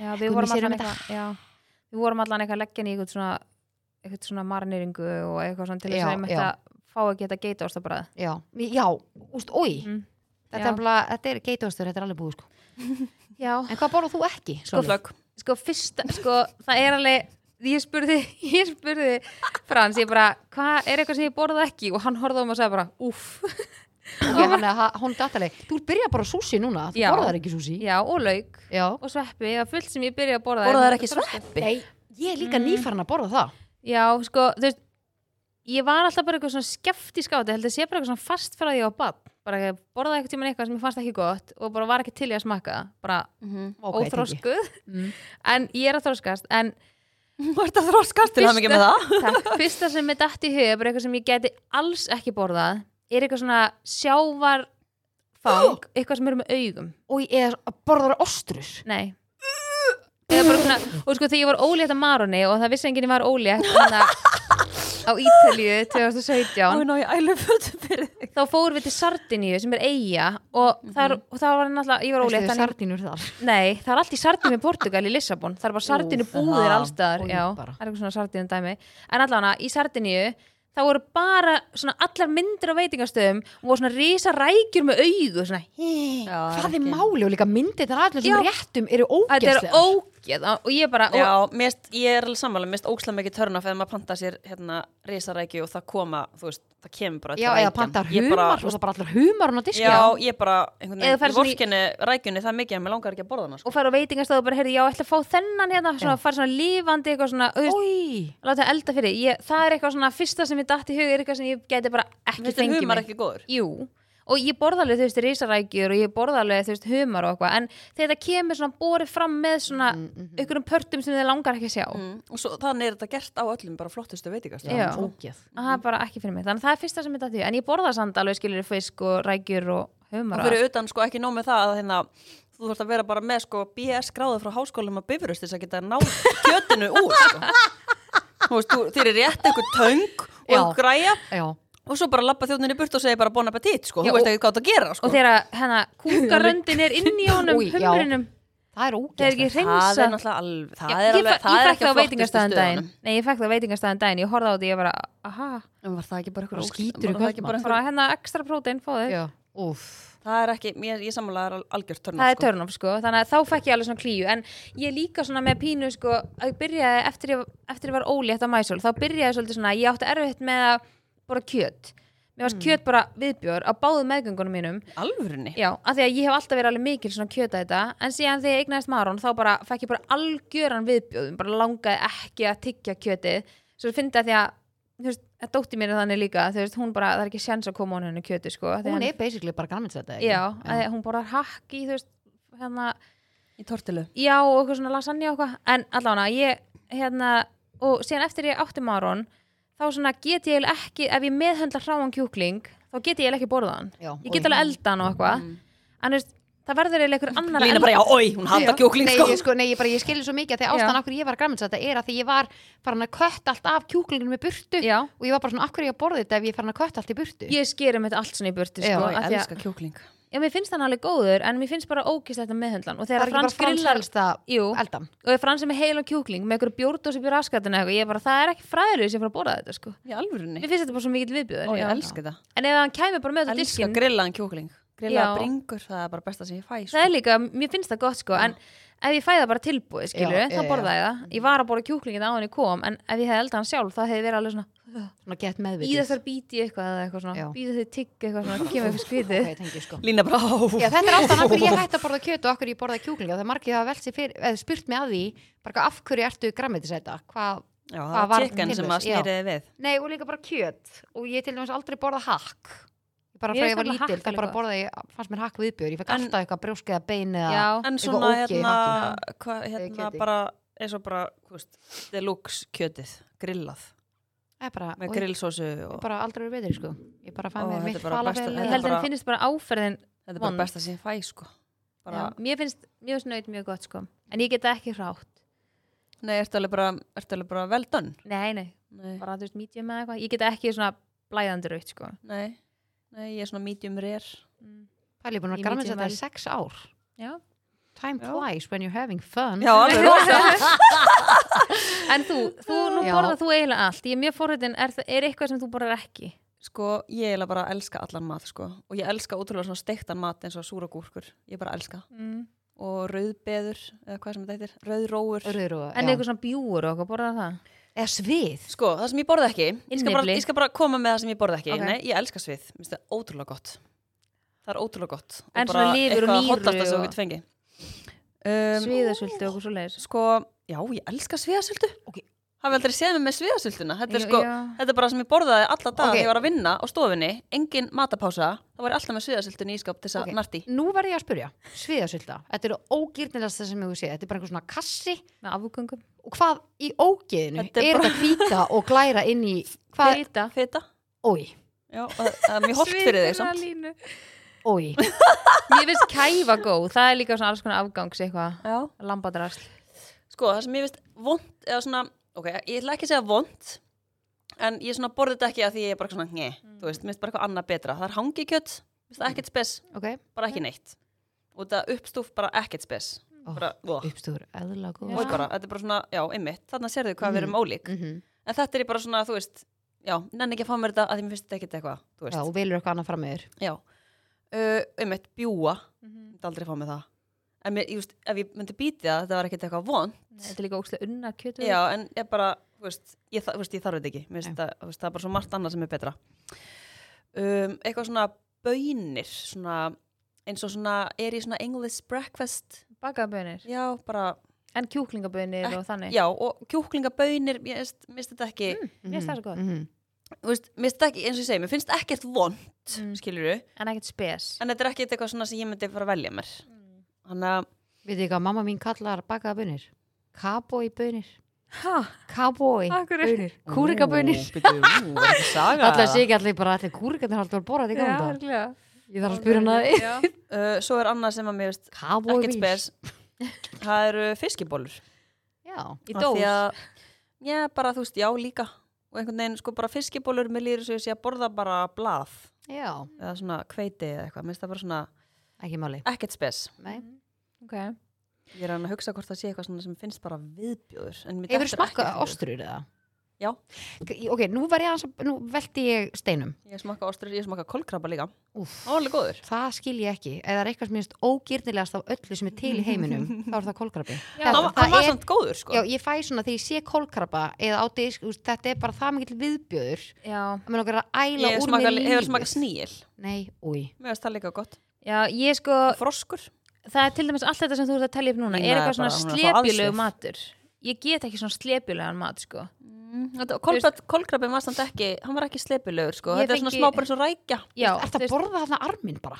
Já, við Gummi vorum sér um allan eitthvað já, Við vorum allan eitthvað að leggja hann í eitthvað svona eitthvað svona marniringu og eitthvað svona til þess Já, að ég mætti já. að fá að geta geita ástabræð Já, mi- já, úst, oi Mm, Þetta já. er, bara, þetta er geitostur, þetta er alveg búið sko. Já, En hvað borðar þú ekki? Góð Sólveig? flögg. sko fyrsta sko, það er alveg, ég spurði ég spurði Frans, ég bara hvað er eitthvað sem ég borða ekki og hann horfði á mig og sagði bara, uff, Ég, hann, ha- hún dataleg, þú byrjar bara á súsi núna Þú Já. borðar ekki súsi já, og lauk Já. og sveppi, það er fullt sem ég byrja að borða Borðar en- þær ekki sveppi? Nei, ég er líka mm. nýfarn að borða það Já, sko, þú veist ég var alltaf bara eitthvað svona skeftisk á þetta held að sé bara eitthvað svona fast fyrir að ég var bann bara að ég borðaði eitthvað tíma eitthvað sem ég fannst ekki gott og bara var ekki til í að smakka það, bara Ok, okay, óþróskuð Mm. en ég er að þróskast en Þú ert að þroskast til það mikið með það. takk, fyrsta sem mér dætt í huga bara eitthvað sem ég geti alls ekki borðað er eitthvað svona sjávarfang eitthvað sem eru með augum Og ég er að borðar ostrur Nei Eða bara svona, og sko þegar ég var ólétt af Maroni og það vissi enginn ég var ólétt þannig að- á Ítalíu 2017 Ó, ná, ég ælu fötum fyrir þig. þá fórum við til Sardiníu sem er eiga og, þar, og það var náttúrulega, ég var ólétt Æstu þannig- sardínur þar Nei, það er allt í sardinu í Portugal í Lissabon Það er bara sardinu búðir það. allstaðar Oj, Já, það bara. er eitthvað svona sardinu dæmi En allavega, í sardinu þá voru bara svona allar myndir á veitingastöðum og voru svona risa rækjur með augu svona, Hvað er máli og líka myndið þar allir sem réttum eru Þetta er ógeðslega ógeð og ég bara, og, Já, mest, ég er alveg sammála, mest ókslega mikið törnaf eða maður panta sér hérna risarækju og það koma, þú veist, það kemur bara Já, til eða rækjan. pantar Ég bara- humar og það bara allir humar hún á diski Já, ég bara, einhvern Eða veginn, ferð ég svona í- vorkenni rækjunni það mikið að mér langar ekki að borða hana, sko. og fara á veitingastöðu og bara, heyrðu, já, ætla að fá þennan hérna, svona, fara svona lífandi eitthvað svona, þú veist, Oj, láta elda fyrir ég, það er eitthvað svona, fyrsta sem ég datt í hug er eitthvað sem ég geti bara ekki Þetta er fengið humar mig ekki góður. Jú, og ég borða alveg, þú veist, risarækjur og ég borða alveg, þú veist, humar og eitthvað en þegar þetta kemur svona borið fram með svona mm, einhverjum pörtum sem þið langar ekki að sjá mhm. Mm. Og svo, þannig er þetta gert á öllum bara flottustu veitingast. Mhm. Já. ógeð að það er bara ekki fyrir mig, þannig að það er fyrsta sem ég dætti en ég borða samt alveg skilur fisk og rækjur og humar Og fyrir utan, sko, ekki nóg með það að hérna, þú þurft að vera bara með, sko, BS gráðu frá háskólum að bifurust þess að geta ná kjötinu úr, sko. Þú veist, þú- þér er rétt einhver töng og Já. einhver græja Já, og svo bara lappa þjóðninni burt og segja bara bon appetit, sko. Já, Þú veist og- ekki hvað það gera, sko. og þegar hérna kúkaröndin er inn í honum, Új, já. humrinum það það er er ógeðslega ekki Það er reynsa náttúrulega alveg, Já, það er ég, fe- alveg, það ég er fekk ekki á það á veitingastæðan flottustu daginn stöðunum. Nei, ég fekk það á veitingastæðan daginn, ég horfði á því ég bara, aha, En var það ekki bara einhver Bara ógeð- skítur í var það ekki kvöldmat. bara einhver- bara hérna ekstra prótein, fóðu Já. Úf, það er ekki, ég, ég sammála það er al- algjört törn það er törnum sko, þannig að þá fekk ég alveg svona klíu en ég er líka svona með pínu sko að ég byrjaði eftir ég, eftir ég var ólétt á mæsól, þá byrjaði ég svolítið svona ég átti erfitt með að bora kjöt mér Mm. varst kjöt bara viðbjör á báðum meðgöngunum mínum alvörunni Já, af því að ég hef alltaf verið alveg mikil svona kjöta þetta en síðan þegar ég eignaðist Maron þá bara fekk ég bara algjöran viðbjóðum bara langaði ekki að tyggja kjötið svo finnst það því að, þú veist, að dótti mér er þannig líka, þú veist, hún bara, það er ekki sjans að koma á henni kjöti, sko af því hún hann- er basically bara grænmetsæta Já, já. hún borðar hakk í, þú veist, hérna í tortilu já og eitthvað svona lasagna og eitthvað en allavega ég hérna og síðan eftir ég átti Maron þá svona get ég eiginlega ekki, ef ég meðhendla hráan kjúkling, þá get ég eiginlega ekki borða hann Já, ég get alveg elda hann og eitthvað en þú veist, það verður eiginlega einhver annar Lína bara, já, oi, hún hata kjúkling nei, sko ég, sko, nei, ég, bara, ég skilði svo mikið að því Já. ástæðan af hverju ég var grænmetsæta er að því ég var farin að kött allt af kjúklinginu með burtu já, og ég var bara svona, af hverju ég að borða þetta ef ég er farin að kött allt í burtu ég skerum þetta allt svona í burti Já, sko, Ég af því elska að, kjúkling já, mér finnst hann alveg góður en mér finnst bara ógislegt að meðhendlan og það þegar er ekki bara frans frans grillar helst að jú, eldan og er frans sem er heilan kjúkling með einhverju bjórd og sem björ askatinu eitthvað, ég er bara, það er ekki fræður sem fara að borða þetta sko. í alvörunni mér finnst þetta bara svo mikill viðbjöður og ég elska það en ef hann kæmi bara með þetta á elska diskin grillaðan kjúkling grillaða Já. bringur, það er bara besta sem ég fæ það sko. er líka, mér finnst það gott sko en ef ég fæði það bara tilbúið skilur Já, já, þá borða ég það, ég var að borða kjúklingin á henni kom en ef ég hefði eldað hann sjálf þá hefði verið alveg svona svona gett meðvitið býða þar bíti eitthvað eða eitthvað Já. svona býða þið tygg eitthvað svona, kemur eitthvað skvitið Ok, tengi, sko. Lína bara, ó, Já, þetta er ástæðan af hverju ég hætti að borða kjöt og af hverju ég borða kjúklinga það er margir hafa velt sér fyrir, eða spurt mig að því bara eitthvað, af hverju ertu græmitisæta hvað, já, Hvað það var var chicken sem að tilvist? Já. snýriði við nei og líka bara kjöt og ég til dæmis aldrei borða hakk Ég bara Ég frá finnst ég var nefnilega lítil, hakk þá alveg bara gott. borða ég fannst mér hakk viðbjör, ég fekk En- alltaf eitthvað brjósk eða bein eða já, En Eitthvað svona, ógeð í hérna, hakinu. hvað, hérna, kjöti. bara eins og bara, þú veist, deluxe kjötið grillað, Það er bara, með og ég, grillsósu ég og bara aldrei verið betri sko ég bara Ó, fann mér þetta mitt er bara besta- falafel þetta er ég eða- held að bara- það finnst bara áferðin þetta er bara vond. besta sem ég fæ, sko bara, já, mér finnst, mér finnst nöyt mjög gott sko en ég geta ekki hrátt, nei, ertu alveg bara ertu alveg bara vel done nei nei, nei, bara þú veist medium eða eitthvað ég get ekki svona blæðandi raut sko nei, nei, ég er svona medium rare Mm. Pæli, ég er búin að Í medium grænmetisæta vel. í sex ár já, time Já. flies when you're having fun já, alveg rosa en þú, þú nú Já. borðar þú eiginlega allt ég er mjög forritin, er, það- er eitthvað sem þú borðar ekki sko, ég er bara að elska allan mat sko. og ég elska ótrúlega svona steiktan mat eins og súragúrkur, ég bara elska mm. og rauðbeður, eða hvað sem þetta heitir rauðróur, Rauður og- en já. eitthvað svona bjúur og okkur, borðar það eða svið sko, það sem ég borði ekki ég skal, bara, Innyfli. ég skal bara koma með það sem ég borði ekki Ok. nei, ég elska svið, mér finnst það ótrúlega gott það er ótrúlega gott En bara svona lifur og eitthvað nýru hottasta sem og- þú getur fengið. um, sviðasöldu og okkur svo leiðis sko, já, ég elska sviðasöldu Ok. hafið aldrei séð mig með sviðasölduna þetta er sko, þetta er bara sem ég borðaði alla dag Ok. þegar ég var að vinna á stofunni, engin matapása þá var ég alltaf með sviðasöldun í ískap til þess að Ok. okay. narti Nú verð ég að spyrja, sviðasölda Þetta eru ógirnilegasta sem ég sé Þetta er bara einhver svona kassi með afgöngum og hvað í ógeðinu Þetta er, er bara- þetta hvíta og glæra inn í hvað, Brita feta, ói, já, og það það er mjög hort fyrir þig samt línu ói Mér finnst kæfa góð, það er líka svona alls konar afgangs eitthvað já. Lambadrasl sko, það sem ég veist vond, eða svona, ok, ég ætla ekki að segja vond en ég svona borði þetta ekki að því ég er bara svona, njö, þú veist, minnst bara eitthvað annað betra það er hangikjött, minnst það ekkert spes okay. bara ekki neitt, og það uppstúf bara ekkert spes, Ó, bara, oh, uppstúður, eðla góð og bara, þetta er bara svona, já, einmitt þannig að sérðu hvað við erum ólík, Mhm. en þetta er ég bara svona, þú veist já, nenni ekki að fá mér þetta að því mér finnst þetta ekkert eitthvað, þú Já, veist, og velur eitthvað annað fram með þér já, Uh, einmitt, bjúa, Mhm. þetta aldrei fá mér það en mér, ég veist, ef ég myndi býti það þetta var ekkert eitthvað vond Þetta er líka ókslega unna kjötu Já, en ég bara, þú veist, ég, þa- þú veist, ég þarf þetta ekki. Mér finnst það, það er bara svo margt annað sem er betra. Um, eitthvað svona bönir, svona, eins og svona, er í svona English breakfast, Bakabönir, já, bara, en kjúklingabönir og þannig já, og kjúklingabönir, mér finnst- mér finnst þetta ekki, Mér finnst það svo gott, mm -hmm. þú veist, mér finnst þetta ekki, eins og ég segi, mér finnst ekkert vond, Mm. Hmm. mm. skilur du, en ekkert spes en þetta er ekkert eitthvað svona sem ég myndi fara að velja mér. Þannig að, Við þið hvað, mamma mín kallar bakaða bönir Kabói bönir Hæ? Kabói Af hverju? Kúrikabönir Ú, bíddu, ú, er þetta saga? Alltaf sé ekki allir bara allir kúrikarnir haldur að borða þetta í gamla daga. örglega Ég þarf að spyrja hana því Uh, svo er annað sem að mér finnst Kabói ekkert spes, það eru fiskibólur. Já, Af Í því dós, að, já, bara þú veist, já líka og einhvern veginn, sko, bara fiskibólur með lýri svo ég sé að borða bara blað já, eða svona kveiti eða eitthvað, minnst það bara svona ekki máli ekkert spes Nei. ok ég er að reyna að hugsa hvort það sé eitthvað svona sem finnst bara viðbjóður en mér dettur Hefur ekkert í smakkað hug. ostrur eða? Já, ok, nú var ég aðeins að, nú velti ég steinum ég smakka ostur, ég smakka kolkrabba líka. Úf, Það var alveg góður. það skil ég ekki eða það er eitthvað sem minnst ógirnilegast af öllu sem er til í heiminum, þá er það kólkrabi Já, Það, það var- það var er- samt góður, sko. Já, ég fæ svona þegar ég sé kólkrabba eða á disk, úst, þetta er bara það mikill viðbjöður já, að mér okkar að æla ég úr smaka, mér lífið hefur smakað sníl. Nei, úi Mér finnst það líka gott. já, ég sko Froskur. það er til dæmis allt þetta sem þú ert að tellja upp núna Nína er er bara- eitthvað svona hún er svo slepjulegu aðsvif. matur ég get ekki svona slepjulegan mat sko. Kolkrabbin var samt ekki, hann var ekki slepilegur, sko. Ég Þetta er svona fengi- smá bara eins og rækja. já, Er það að borða þarna arminn bara?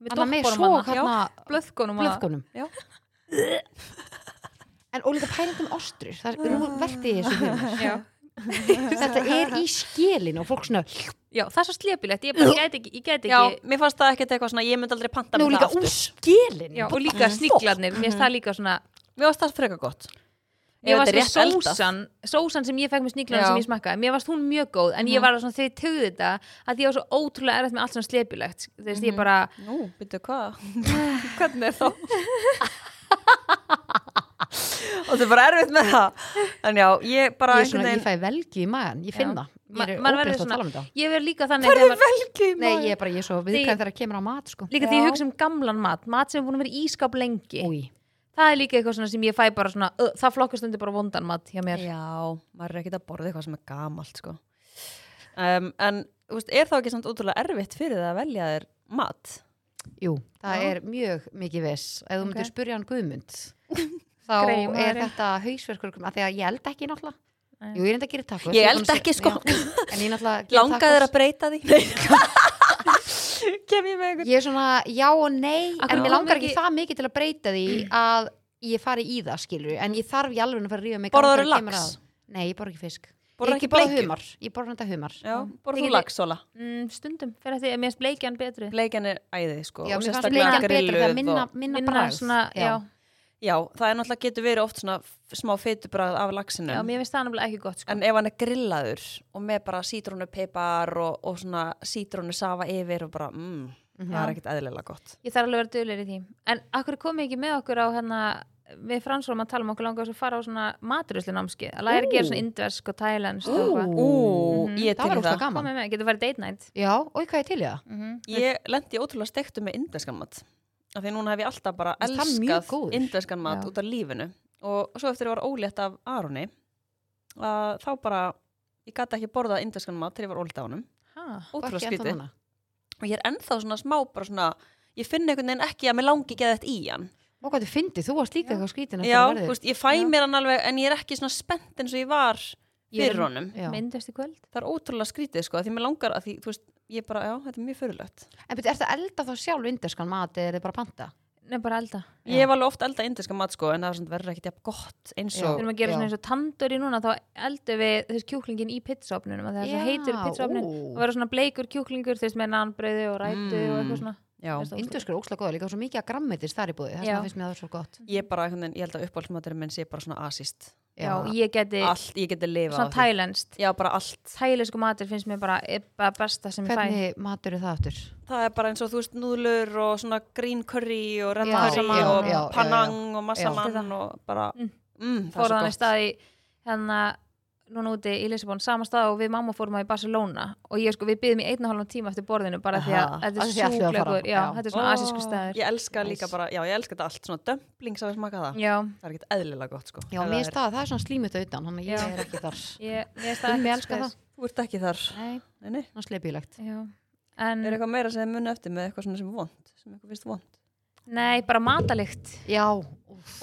með Þarna með doppbórum svo hana hérna blöðkonum blöðkunum Já. En ólíka pælindum ostrur, það er, nú velti ég þessu fyrir mér já, Þetta er í skilin og fólk svona já, það er svo slepjulegt ég, bara get ekki, ég get Já, ekki mér fannst það ekkert eitthvað svona, ég myndi aldrei panta Nú mér líka það úr aftur. skilin já, og líka sníklarnir, mér finnst það líka svona Mér fannst það frekar gott. Mér Ef varst þetta er með rétt eldað. sósan, sósan sem ég fekk með sníklarna Já. Mhm. sem ég smakkaði, mér varst hún mjög góð en ég var svona þegar ég tögði þetta að því ég var svo ótrúlega erfitt með allt svona slepjulegt þú veist, Mhm. ég bara, Nú, byrju, hvað? Hvernig er þá? og það er bara erfitt með það. En já, ég bara Ég, er svona, ég fæ velgi í magan, ég finn Já. það Mér er Ma- maður verður ógæst að svona- tala um þetta ég verð líka þannig þegar maður- velgi Nei, ég er bara, ég er svo viðkvæm Því- þegar að kemur á mat sko. líka því ég Já. hugsa um gamlan mat mat sem er búin að vera í ískap lengi Úi, það er líka eitthvað svona sem ég fæ bara svona uh, það flokkast undir bara vondan mat hjá mér Já, maður er ekkert að borða eitthvað sem er gamalt sko. um, En þú veist, er þá ekki samt útrúlega erfitt fyrir það að velja þér mat? jú, það Já. er mjög mikið viss Ef þú myndir Ok. spurja hann Guðmund Þá Greyið er maðurinn. þetta hausverkur af Því að ég elda ekki náttúrulega Nei. Jú, ég er enda að gera tacos Ég er búin elda að ekki, se- sko. Já, En ég náttúrulega geri Langaði þér tacos. að breyta því? Nei Kem ég með einhvern? Ég er svona já og nei Af hverju En kom mér langar ekki ekki- það mikið til að breyta því Að ég fari í það skilur En ég þarf í alveg að fara að rífa mig Borðarðu gangi þegar kemur lax? að- Nei, ég borða ekki fisk Borðarðu Ég ekki borða bleikju? humar Ég borða þetta humar Já, borða Ég þú geti- lagsóla mm, stundum, fyrir að því að mér finnst bleikjan betri Bleikjan er æðið sko Já, og mér fannst sérstaklega bleikjan betur þegar grilluð minna, og... minna, Minna bragð. svona, já. Já. Já, það er náttúrulega getur verið oft svona f- smá feitubragð af laxinu mér finnst það nefnilega ekki gott sko. En ef hann er grillaður og með bara sítrónu pepar og, og svona sítrónu safa yfir og bara, mm, Mhm. það er ekkert eðlilega gott. ég þarf alveg að vera dölir í því en akkur komið ekki með okkur á hérna við fransólum að tala um okkur langar þess að fara á svona maturuslu námski að læra að gera svona indversk og thailandsk og eitthvað. Ú, mhm. Ú, ég Það til í var óslega það. gaman komið með, getur farið date night Já, og hvað er til í það? Ég lendi ótrúlega stektu með indveskan mat. Af því núna hef ég alltaf bara Mér finnst það mjög elskað góður. indveskan mat Já. út af lífinu. Og svo eftir ég var ólétt af Aroni, að þá bara, ég gæti ekki borðað indveskan mat þegar ég var ólétt af honum. ha. Ótrúlega skrítið. Og ég er ennþá svona smá, bara svona, ég finn einhvern veginn ekki að mér langi geða þetta í hann. Og hvað þú fyndið, þú varst líka eitthvað skrítið Já, þú veist, ég fæ mér hann alveg, en ég er ekki svona spennt eins og ég var Ég er- fyrir honum. Já. með indversk í kvöld Það er ótrúlega skrítið, sko, af því mér langar að því, þú veist, ég bara, já, þetta er mjög fyrirlegt. En betur, ertu að elda þá sjálf indeskan mat eða er þið bara að panta? Nei, bara elda. Ég hef alveg oft elda indíska mat sko en það er svona verður ekkert jafn gott eins Já. Við og erum að gera Já. svona eins og tandur í núna þá eldum við þess kjúklingin í pizzaopnunum að það er svo heitur Já, pizzaopnun ú. og vera svona bleikur kjúklingur þess með nanbröðu og rætu og eitthvað svona já. Veist það, Indeskan er óslega góð, líka svo mikið að grammetis þar í búði Það Já. finnst mér það svo gott ég bara, einhvern veginn, ég held að uppáhaldsmaturinn minn sé bara svona asist Já, ég geti allt, ég geti lifað svona af því. tælenskt já, bara allt, Tælisku matur finnst mér bara, er bara besta sem ég fæ Hvernig matur er það aftur? það er bara eins og þú veist núðlur og svona green curry og red Já, curry já, og já, já, panang og Allt massaman þetta. og bara, Mm. mm. það er Fóruðan í svo gott staði hérna núna úti í Lisabon sama stað og við mamma fórum að í Barcelona og ég sko, við byggðum í einn og halvan tíma eftir borðinu bara því að Aha, þetta af er því ætlum við að fara. sjúklegur já, Já. þetta er svona asísku staður ég elska Nice. líka bara, já, ég elska þetta allt svona dömplings að við smaka það, Já, það er ekkert eðlilega gott sko Já, Ef mér það er- stað, það er svona slímut auðan, þannig að Já. ég er ekki þar ég, ég Gummi staði elskar það. þú ert ekki þar, Nei, nei, nei svona sleipilegt Já, en er eitthvað meira sem þið muni eftir með eitthvað svona sem er vond sem eitthvað finnst vond nei, bara matalikt Já, og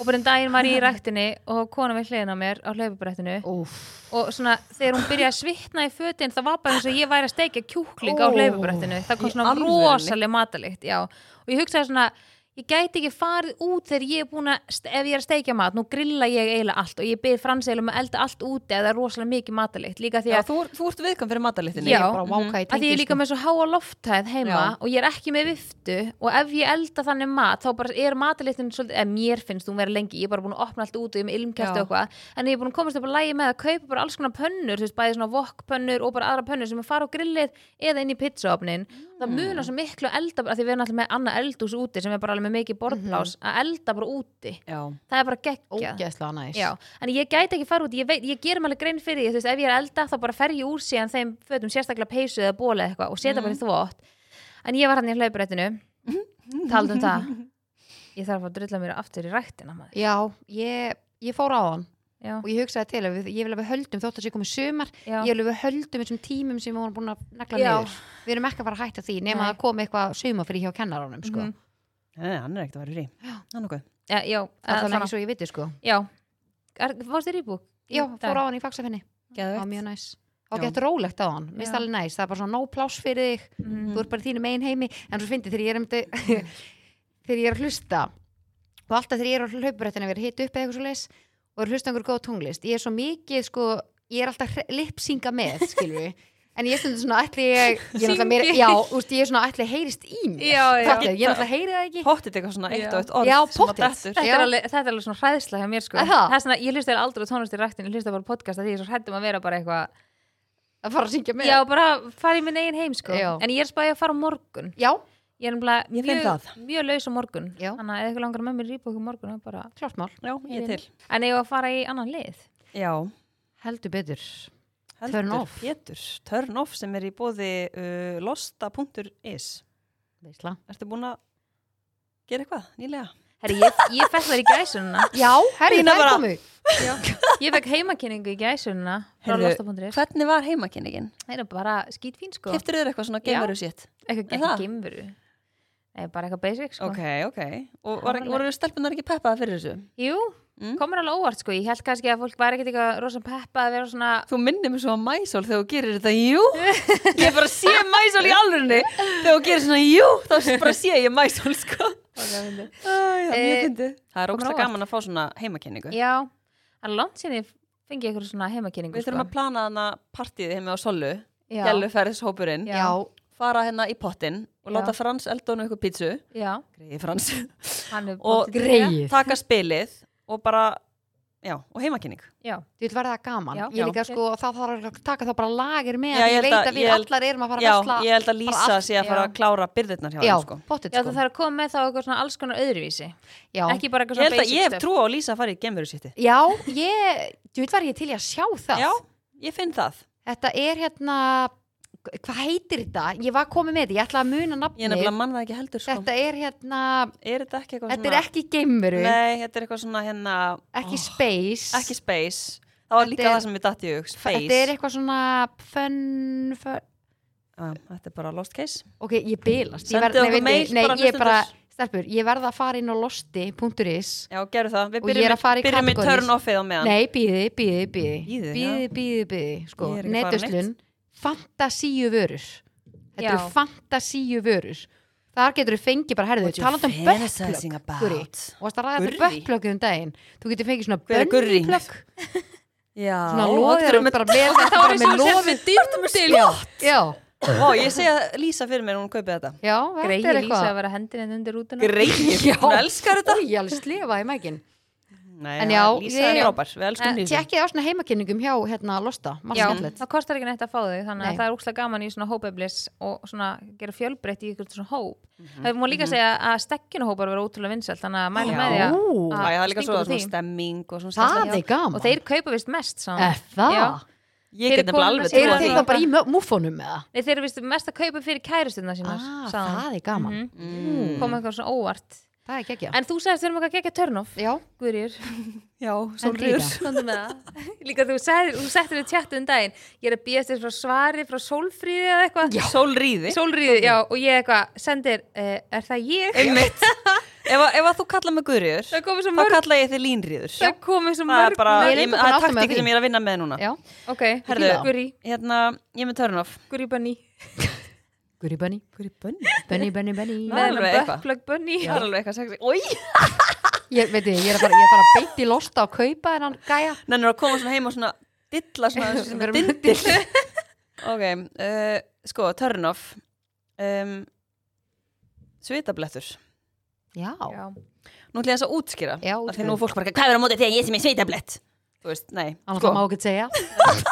bara um daginn var ég í ræktinni og kona við hliðin á mér á hlaupabrættinu úf og svona þegar hún byrjaði að svitna í fötin það var bara eins og ég væri að steikja kjúkling á Ó, hlaupabrættinu, það í kom svona alvörunni? rosaleg matalikt, já og ég hugsaði svona, ég gæti ekki farið út þegar ég er búin að, st- ef ég er að steikja mat nú grilla ég eiginlega allt og ég byrði fransælum að elda allt úti ef það er rosalega mikið matalikt líka því Já, að þú, þú ert viðkvæm fyrir matalitinu Já. Bara váka í að því ég er tengi sko. líka með svo háa lofthæð heima Já. og ég er ekki með viftu og ef ég elda þannig mat þá bara er matalitinn svolítið, eða mér finnst hún vera lengi ég er bara búin að opna allt út og ég er með ilmkæftu Já. og eitthvað en ég er búin að komast upp að lægi með að kaupa bara alls konar pönnur, þú veist, bæði svona vokkpönnur og bara aðra pönnur sem er fara á grillið eða inn í pizzaofnin það munar svo miklu að elda bara af því við erum alltaf með annað eldús úti sem er bara alveg með mikið borðplás að elda bara úti já, það er bara geggjað ógeðslega næs Já, en ég gæti ekki fara út, ég, veit, ég gerum alveg grein fyrir því, þú veist, ef ég er að elda þá bara fer ég úr síðan þeim fötum sérstaklega peysu eða bóla eða eitthvað og setja Mhm. bara í þvótt en ég var hann í hlauprættinu taldu um það ég þarf að fá að drulla mér aftur í rættina maður. Já, ég, ég fór á hann Já, og ég hugsaði til að við, ég vil að við höldum þótt að sé komið sumar, já, ég vil að við höldum þessum tímum sem við vorum búin að negla Já. niður við erum ekki að fara að hætta því nema Nei. að koma eitthvað sumafrí hjá kennaranum sko. Mhm. Nei, hann er ekkert að vera í frí Já. Hann okkur já, já, allan allavega. ekki svo ég viti sko. já. Er, Fórstu þér í búk? Já, fór á hann í fagsafinni, það var Geðvegt mjög næs og gett rólegt á hann, minnst Já. alveg næs það er bara svona no pláss fyrir þig mm. þú ert bara í þínum einn heimi en svo fyndi þegar ég er um þegar ég er að hlusta og alltaf þegar ég er á hlauprættinu verið hitt upp eða eitthvað svo leis og er að hlusta á einhver góð tónlist ég er svo mikið sko ég er alltaf lipsinga með skilur við en ég er stundum svona ætli ég, ég er alltaf mér, Syngi. já, úst, ég er svona ætli heyrist í mér Já, já. Fattu, ég er alltaf heyrið það ekki Pottið eitthvað svona eitt Já. og eitt orð Já, sem að pottþétt. dettur. Þetta Já. er, alveg, þetta er alveg svona hræðsla hjá mér sko Er það? Það er svona, ég hlusta þér aldrei á tónlist í rættin ég hlusta bara á podcast að því ég er svo hrættum að vera bara eitthvað að fara að syngja með Já, bara fara í minn eigin heim sko Já. En ég er spæði að fara á morgun já Ég er nefnilega Ég finn mjög, það. mjög laus á morgun Já. Þannig að eða eitthvað langar með mér rýpa okkur morgun þá bara... klart mál, Já, ég er til En eigum við að fara í annan lið Já heldur betur heldur Turn off. Pétur, turn off sem er í bóði uh, losta.is Veisla. Ertu búin að gera eitthvað nýlega? Herri, ég, ég fekk þær í gæsununa já, herri, Lína það er bara- komu Ég fekk heimakynningu í gæsununa frá Heyrðu, losta.is Hvernig var heimakynningin? Það er bara skítfín sko Kiftir þér eitthvað svona Já. gameru sitt? Eitthvað Er það? ekki gimveru Nei, bara eitthvað basic sko Ok, ok Og var, Það var ekki- alveg- voru stelpunar ekki peppaða fyrir þessu? Jú, Mm. komur alveg óvart sko Ég held kannski að fólk væri ekkert eitthvað rosa peppa að vera svona Þú minnir mér svo að mæsól þegar þú gerir þetta, jú Ég bara sé mæsól í alvörunni Þegar þú gerir svona, jú, þá bara sé ég mæsól, sko Æ, já, mjög Eh, fyndið. Það er komur á ógstlega óvart. gaman að fá svona heimakenningu Já, það er langt sinni fengið eitthvað svona heimakynningu Við þurfum sko. að plana hana partíð heima á Sollu Já. Gjelluferðishópurinn Já. já, Fara hérna í pottinn og Já. láta Frans eldónu ykkur pítsu Já, Greiði Frans hann er Og bóttinn til greið. í Greið. taka spilið og bara, já, og heimakenning það. Já, þú vil verða það gaman Já. ég líka Já. sko, það þarf að taka þá bara lagir með Já, já, ég ég held veit að- að við ég held- allar erum að fara Já, að slasla ég held að Lísa allt- sé að fara já. að klára byrðirnar hjá já, hann, sko pottet Já, sko það þarf að koma með þá eitthvað svona alls konar öðruvísi já. Ekki bara Ég eitthvað held svona að ég hef basic trú á að Lísa að fara í gemveru sitti já, ég, þú veit var ég til í að sjá það Já, ég finn það þetta er hérna hvað heitir þetta, ég var komið með þetta ég ætla að muna Ég er nafnið nefnilega mann það ekki heldur sko. þetta er hérna, Er þetta ekki eitthvað þetta er ekki geimveru Nei, þetta er eitthvað svona hérna ekki Ó, space ekki space Það var Þetta líka er- það sem við datti í hug Space þetta er eitthvað svona fun, fun Já, Þetta er bara lost case ok, ég bilast ég Sendið verð- nei, okkur veit- mail nei, bara ég hlustendur. bara, stelpur, ég verða að fara inn á losti.is Já, gerðu það Við Og ég er byrjum, að fara í með- byrjum með kategórís. turn offið á meðan Nei, býði, býði, býði Bíðið, Býði, býði, býði, sko Ég er ekki að fara Netuslun, fantasíu vörur Þetta Já. eru fantasíu vörur Þar getur þú fengið bara, herðu, What you talandi um fantasizing bökplögg about? Guri, og varst að ræða Gurrí? þetta bökplöggið um daginn Þú getur fengið svona Hver er Gurrí? bönnplögg Já Svona loður og bara með þetta bara með lofið dýrtum Já, já, Ó, ég segja Lísa fyrir mér, hún kaupið þetta já, Greið þetta er lýsa að eitthvað vera hendin undir rútuna Greið, Já. hún elskar þetta Új, ég alveg slefa í mækin Nei, En það- já, Eh, Lísa ég- er frábær, við elskum Lísa Tjekkið á svona heimakynningum hjá hérna Losta, Já, margir skemmtilegt það kostar ekki neitt að fá þau þannig Nei. að það er úkslega gaman í svona hópeflis og svona gera fjölbreytt í ykkur svona hóp Mhm. Það má líka segja að stekkinahópar vera ótrúlega vinsælt þannig að mæla með því að- Ú, Æ, það er líka stingur svo úr svona því. stemming og svona Það skemmtilegt. er gaman og þeir kaupa vist mest saman. Er það? Já. Ég Fyrir get nefnilega konuna alveg sem trúað Eru Trúa því. þeir því. þá bara í mö- múfónum með það? Nei, þeir eru vist mest að kaupa fyrir kærustunna sínar Ah, sagði hann. það er gaman Mm. Mhm. Kom eitthvað svona óvart Það er gekkja En þú sagðist við erum eitthvað gegja törnof Já, Guðrýr, Já, Lísa. sólriður komdu með það Líka þú, sagði, þú settir við tjattu um daginn Ég er að býja þér frá svari frá sólfríði eða eitthvað Sólriði Sólríði, já, og ég eitthvað sendir, uh, er það ég? Einmitt Ef, að- ef að þú kalla mig Guðriður Það komið svo Þá mörg, kalla ég þig Línriður það komið svo Það er mörg bara Ég er ég- líka Það búin að er átta mig á taktikið því. sem ég er að vinna með núna já Ok, Herðu. Guðrý, Hérna, ég er með turn off Guðrý Bunny Guri Bunny, Guðri bönni Bunny, Bunny, Bunny Nei. alveg Með hennar eitthvað. bökplögg Bunny Það er alveg eitthvað sexy Í Ég veit ég, ég er að fara, ég er að fara beitt í losta og kaupa þennan gæja Nennir að koma svona heim og svona Dilla svona eins og sem Vera er með dindil Ok, uh, sko, turn off um, Svitablettur Já, Já, Nú ætlum ég þess að útskýra Já, Af Því Sko. útskýrðu. nú er fólk bara, hvað er á móti því að ég sem er svitablett Þú veist, nei annars það má ekki segja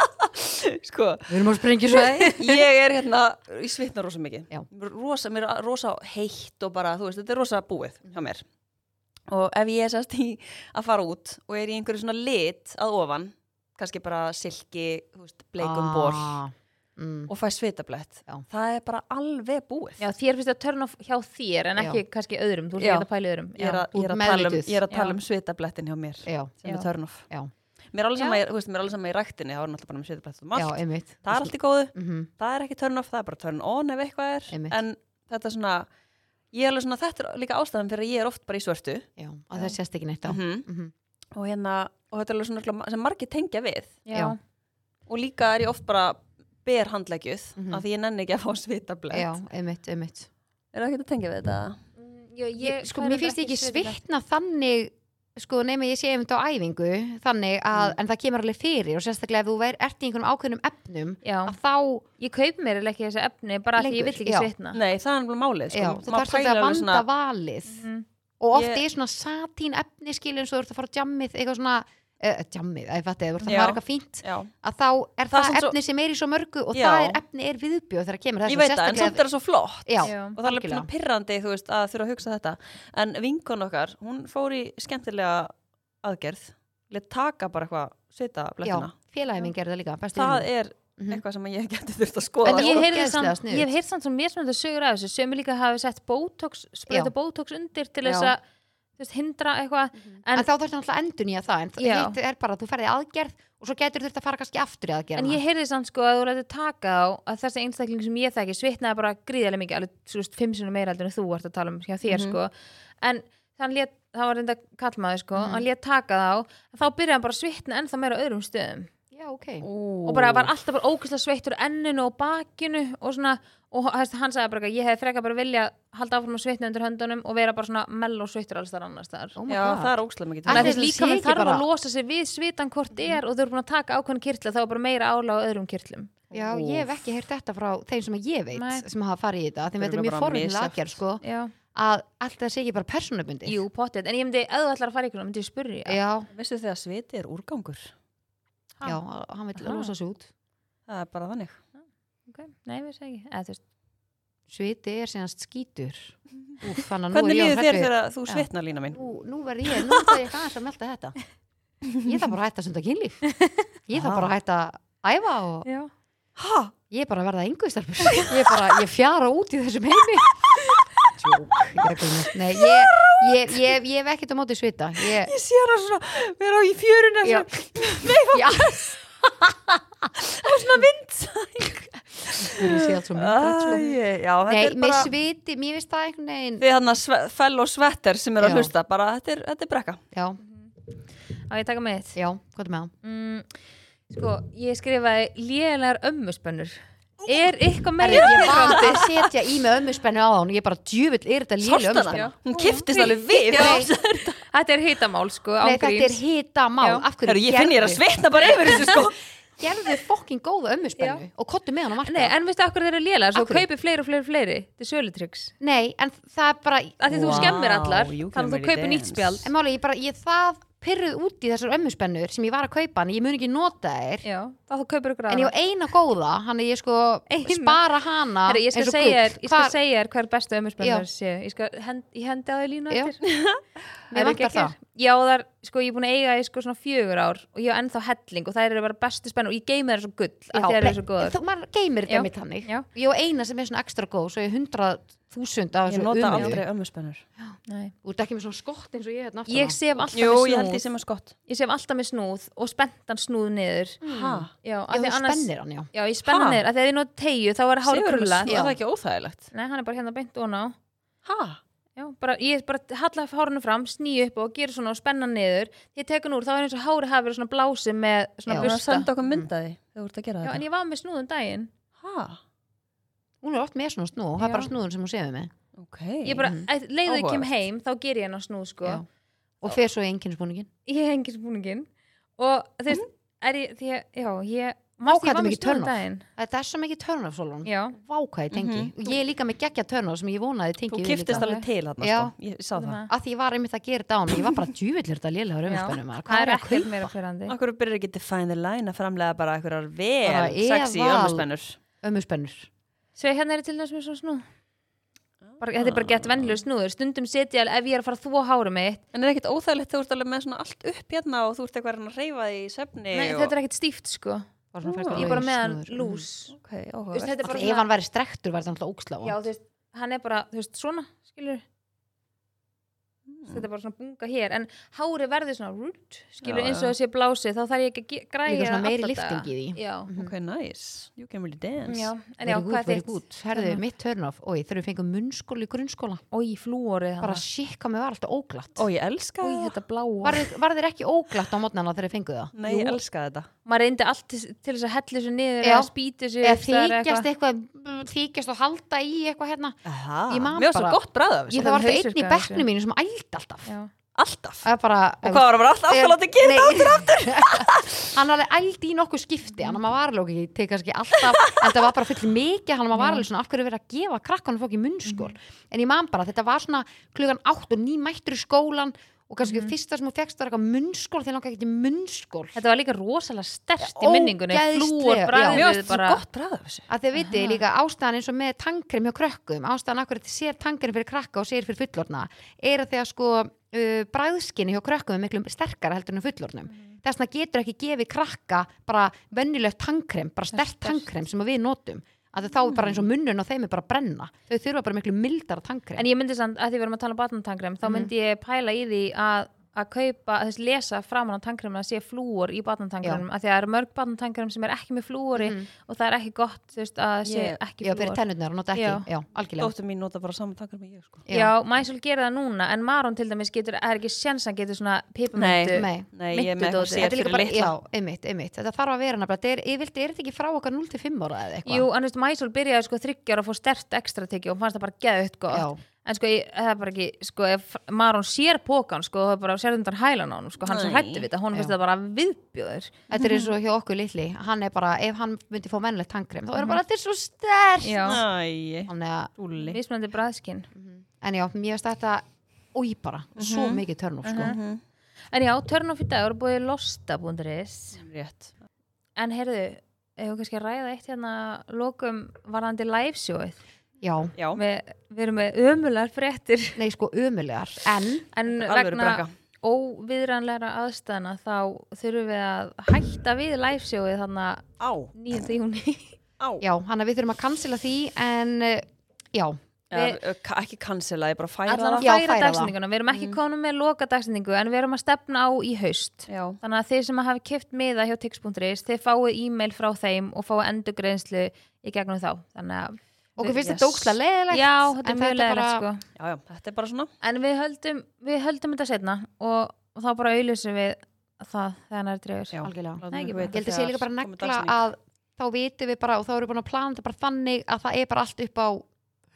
sko, Við erum á sprengjusvæði ég er hérna, ég svitna rosa mikið Já. rosa, mér er rosa heitt og bara, þú veist, þetta er rosa búið hjá mér og ef ég er sérst í að fara út og er í einhverju svona lit að ofan, kannski bara silki, þú veist, bleikum ból Ah. mm. og fæ svitablett Já. það er bara alveg búið Já, þér finnst það törn of hjá þér en ekki kannski öðrum, þú ert Já. ekki að pæla í öðrum ég er, Já. að, ég er, út að, tala um, meðvituð. ég er að Já. tala um svitablettin hjá mér Já, sem Já. er törnof já, mér er alveg Já. sama, í- þú veist, mér er alveg sama í ræktinni þá er náttúrulega bara með svitablett um já, allt einmitt það er allt í góðu, mm -hmm. það er ekki törnof það er bara törn on ef eitthvað er Einmitt. en þetta er svona ég er alveg svona, þetta er líka ástæðan fyrir að ég er oft bara í svörtu Já, að það sést ekki neitt á -hmm. Mhm. og hérna, og þetta er alveg svona örugglega sem margir tengja við Já. Já. og líka er ég oft bara ber handleggjuð Mhm. af því ég nenni ekki að fá svitablett Já, einmitt, einmitt er það ekki að tengja við þetta? Mm, já, ég, ég, sko, það er mér reyndar finnst ég ekki svipað. svitna þannig sko, nema ég sé einmitt á æfingu þannig að, en það kemur alveg fyrir og sérstaklega ef þú ver, ert í einhverjum ákveðnum efnum Já, að þá, ég kaup mér eiginlega ekki þessu efni bara af því ég Lengur, vill ekki já. svitna nei, það er alveg málið sko. já, þú Maður þarf svolítið pælir að alveg vanda svona- valið Mhm. og oft Ég- er svona satín efni skilin svo þú ert að fara á djammið, eitthvað svona uh, djammið, að ég fatti, þú ert að Já. fara eitthvað fínt Já. að þá er það, Það er samt svo- efni sem er í svo mörgu og Já. það er efni er viðbjóð þegar kemur ég þessu veit það, en samt er það svo flott já, Já. og það er alveg algjörlega. svona pirrandi þú veist, að þurfa að hugsa þetta en vinkon okkar, hún fór í skemmtilega aðgerð let taka bara eitthvað svita já, blettina félagið minn gerði það líka bestu það vinur. er Mhm. eitthvað sem ég geti þurft að skoða En En sko. ég sko heyrði ógeðslega samt, sniðugt. ég hef heyrði samt svona mér sem þetta sögur af þessu sem líka hafi sett botox, spröyta Já. botox undir til Já. þess að þú veist, hindra eitthvað en, en, þá þarf náttúrulega endur nýja það en Já. það hitt er bara að þú ferði aðgerð og svo getur þurft að fara kannski aftur í aðgerð en ég heyrði samt sko að þú lætur taka á að þessi einstakling sem ég þekki svitnaði bara gríðarlega mikið, alveg þú veist, fimm sinni meira heldur en þú ert að tala um hjá þér Mhm. sko en hann lét, það var reynda kallmaður sko, Mhm. hann lét taka þá þá byrjaði hann bara að svitna ennþá meira á öðrum stöðum já, ok Ú. og bara var alltaf bara ókvæslega sveittur á enninu og bakinu og svona og hann hann sagði bara eitthvað, ég hefði frekar bara vilja halda áfram að sveitna undir höndunum og vera bara svona mell og sveittur alls þar annars þar oh já, það er ókslega mikið Ætli Þannig til. að þessi líka sé með ekki þarf bara- að Mm. losa sig við svitan hvort er og þau eru búin að taka ákveðin kirtla þá er bara meira ála á öðrum kirtlum já, ég hef ekki heyrt þetta frá þeim sem að ég veit Nei. sem hafa farið í þetta, þeim Það þetta er er mjög bara forvinnilega misjafnt. aðgerð sko, Já, að allt það sé ekki bara persónubundi jú, pottet En ég myndi, ef þú ætlar að fara ykkur, myndi ég spurri já, vissu þið að sviti er úrgangur Ha. já, hann vil Aha. losa sig út það er bara þannig okay. Nei, við segi ekki Eða, þú veist, sviti er síðan skítur Úf, þannig að nú hvernig er ég á líður þér hræddu- þegar þú Já. svitnar lína mín? nú, nú verð ég, nú þarf ég ekki aðeins að melda þetta ég þarf bara að hætta að sunda kynlíf ég þarf bara að hætta að æfa og Já, ha? ég er bara að verða yngvistarpur ég er bara, ég fjara út í þessum heimi Jók, ég er ekki með Nei, ég, ég, ég, ég hef ekkert á móti svita ég, ég sé hana svona, við erum í fjöruna Já. svona, nei, já, það er svona vind ég sé allt svo mynd sko. Æ, já, þetta Nei, er með bara sviti, mér finnst það einhvern veginn því hann að fell og svetter sem er að Já. hlusta bara þetta er, þetta er brekka Já, á ég að taka með þitt já, hvað er með það? mm, Sko, ég skrifaði lélegar ömmuspönnur Er eitthvað meira Ég var að setja í mig ömmuspennu á hann Ég bara djöfull, er þetta léli Sástu hana? ömmuspennu? hún kiftist alveg við Herru, Þetta er heitamál, sko, Nei, án þetta er gríns hita Já. mál Af hverju ég finn ég er að svitna bara yfir þessu sko Gerðu fokkin góða ömmuspennu Og kottu með hann á Nei, marka en veistu akkur þeir eru lélegar, svo Af hverju? kaupir fleiri og fleiri og fleiri Þetta er sölutryggs Nei, en það er bara að því þú Wow, skemmir allar you þannig að þú can kaupir really nýtt dance. spjald En máli, ég bara, ég það pyrruð út í þessar ömmuspennur sem ég var að kaupa hann, ég mun ekki nota þær já, þá þú kaupir ykkur en ég á eina góða, hann er ég sko Eina? spara hana Heri, ég skal eins og segja gull. þér, ég skal Hvar- segja þér hver bestu Já. ömurspennur séu ég, skal, hend, ég hendi á því línu Já. eftir Það er vantar geggjað. það. já, það er, sko, ég er búin að eiga í sko, svona fjögur ár og ég á ennþá helling og það eru bara bestu spennur og ég geymi þær svo gull Já, að þér eru nei, svo góður þú, maður geymir Já. þetta mitt hannig Já. ég á eina sem er svona ekstra góð, svo ég hundra þúsund af ég þessu nota umlu aldrei ömmuspennur Nei. þú ert ekki með svona skott eins og ég hérna aftur ég sef alltaf jú, ég með held ég snúð sem er skott ég sef alltaf með snúð og spenntan snúð niður ha? já, af að því þú annars spennir hann, já já, ég spenna Ha? niður, af því að ég nota tegju þá er hár Sigurður, krulla er það ekki óþægilegt? nei, hann er bara hérna beint og ná ha? Já, bara, ég bara halla hárinu fram, sníu upp og gera svona og spenna niður. Ég tek hann úr, þá er eins og hári hafi verið svona blási með svona Já. það busta. senda okkur myndaði þegar þú ert að gera Já, en þetta ég var með snúðum daginn. ha? hún er oft með svona snú, það Já. er bara snúðun sem hún sefur með ok Ég bara, Mhm. mm. leiðu ég kem Áhugavert. heim, þá ger ég hann á snúð, sko. Já. og fer svo í enginnsbúningin Ég hengir spúningin og þú veist, er ég, því að, já, ég Vá, Manstu, ég hvað þetta var er með mikið snúð um turn-off. daginn. Þetta er svo mikið törn af sólun Já, Vá hvað ég tengi Mhm. Og ég er líka með geggja törn af sem ég vonaði tengi Þú við kiftist líka. alveg til þarna, Já. sko. Ég sá það. það Af því ég var einmitt að gera þetta á mig Ég var bara djúvillir þetta lélega rauðspennum það er ekkert meira fyrrandi Akkur byrjar ekki Define the Line að framlega bara einhverjar vel Bara sexy eval. ömmuspennur. Ömmuspennur Svo hérna er til þess með svona snúð bara, Þetta er bara gett Ah. vennilegur snúður Stundum setja alveg ef ég er að fara að þvó hára mitt En er ekkert óþægilegt þegar þú ert alveg með svona allt upp hérna og þú ert eitthvað að reyna að reyfa því í svefni Nei, og... þetta er ekkert stíft sko Bara svona Ó. fært Ég alveg er bara með hann snúður. lús Ok, áhugavert. Vist, þetta er Af bara því Ef hann væri strektur væri það alltaf óksla Já, þú veist, hann er bara, þú veist, svona skilur, Hmm. þetta er bara svona bunga hér en hári verður svona rút, skilur, Já, eins já. og það sé blásið, þá þarf ég ekki að ge- græja Líka svona alla meiri daga. lyfting í því. Já, Ok, Mhm. nice. You can really dance. já, en já, Very good, hvað Hérna. very er good. þitt? Herðu, Turn-off? mitt turn-off Og ég þurfum fengið munnskóli í grunnskóla Ói, flúorið Bara hann shit hvað mér var alltaf óglatt Ó, ég elska Ói, það. þetta bláa Var, var þeir ekki óglatt á mótnana þegar þeir fenguð það? Nei, ég elska þetta. Maður reyndi allt til, til þess að hella þessu niður Já. eða spýta þessu Eða upp þar eða þykjast eitthvað, þykjast og halda í eitthvað hérna Aha. Ég man Mér var svo bara- gott bræða af Ég þessu. fæ það var það hausverk einn í af þessu. bekknum mínu sem ældi alltaf Já. Alltaf. Það er bara Og hvað var að vera alltaf alltaf látið að gera? aftur, aftur Hann alveg ældi í nokkuð skipti Hann var alveg ekki, teg kannski alltaf En það var bara full mikið Hann var alveg svona, af hverju verið að gefa krakkanum fólk í munnskól En ég man bara, þetta var svona Klugan 8 og 9 mættur í skólan Og kannski fyrsta sem hún fegst var eitthvað munnskól Þegar langar ekki í munnskól Þetta var líka rosalega stert í minningunni Ógeðslega, Flúor, já. Mér bræðið var svo bara gott bræða af þessu. að þið vitið líka ástæðan eins og með tankrem hjá krökkum, ástæðan akkur þetta sér tankrem fyrir krakka og sér fyrir fullorna er að því að sko uh, bræðskinni hjá krökkum er miklu sterkara heldur en hjá fullornum Mhm. þess vegna getur ekki gefið krakka bara vennilegt tankrem, bara stert tankrem sem að við notum, að þá er bara Mhm. eins og munnun og þeim er bara að brenna, þau þurfa bara miklu mildara tankrem, En ég myndi samt að því við erum að tala um batnatangrem Mhm. þá myndi ég pæla í því að að kaupa, þess lesa framan á tangremna að sé flúor í batnatangremum af því að það eru mörg batnatangrem sem er ekki með flúori og það er ekki gott, þú veist, að sé Ég- ekki Mhm. já, fyrir flúor. tennurnar og nota ekki, Já. já, algjörlega Dóttur mín nota bara saman tankar með ég, sko. Já, Mæsul gerir það núna en Maron til dæmis getur, er ekki séns hann getur svona pipamöntu. Nei. Nei, ég er með Myndu eitthvað sér dótið. Þetta er fyrir líka bara, litla. já, einmitt, einmitt, þetta þarf að vera nefnilega, þetta er, ég vildi, er þetta ekki frá okkar 0-5 ára eða eitthvað? Jú, en þú veist, Mæsul byrjaði sko þryggjar að fá stert ekstra tekið og fannst það bara geðutt gott. Já. En sko, ég, það er bara ekki, sko, ef Maron sér pókan, sko, það er bara sérðundan hælan á hann, sko, hann er svo Nei. hætti við þetta, hún Já. finnst það bara viðbjóður. Þetta er Mhm. eins og hjá okkur litli Hann er bara, ef hann myndi fá mennlegt tangrem þá er hann bara, þetta er svo stærst Mhm. Já. Æ, Þannig að, rúli. Mismunandi bræðskinn. en já, mér veist þetta Új bara, svo Mhm. mikið törnum sko. Mhm. En já, turn off í dag eru búið losta.is Rétt. En heyrðu, hefur kannski að ræða eitt hérna lokum varðandi livesjóið Já, Já, við, við erum með ömulegar fréttir nei sko ömulegar En, En alveg vegna brakka. óviðranlega aðstæðna þá þurfum við að hætta við livesjóið þannig að Á, 9. júni á. já, hann að við þurfum að cancela því En, eh, já, Eða, ö, ka- Ekki cancela, ég bara færa Allan að það. Já, færa færa það. dagsendinguna, við erum ekki komin með loka dagsendingu en við erum að stefna á í haust Já. Þannig að þeir sem hafi keft miða hjá tix.is, þeir fáið e-mail frá þeim og fáið endurgreinslu í gegnum þá. Þannig að, okkur finnst Yes. þetta óksla leðilegt já, þetta er mjög leðilegt bara, sko. Já, já, þetta er bara svona. En við höldum, við höldum þetta setna og, og þá bara auðlýsum við það þegar hann er drefur. Já. Algjörlega Látum Nei, ekki ykkur bara. vita þegar Ég held að sé líka bara komið negla dagsetning. að þá vitum við bara og þá erum við búin að plana þetta bara þannig að það er bara allt upp á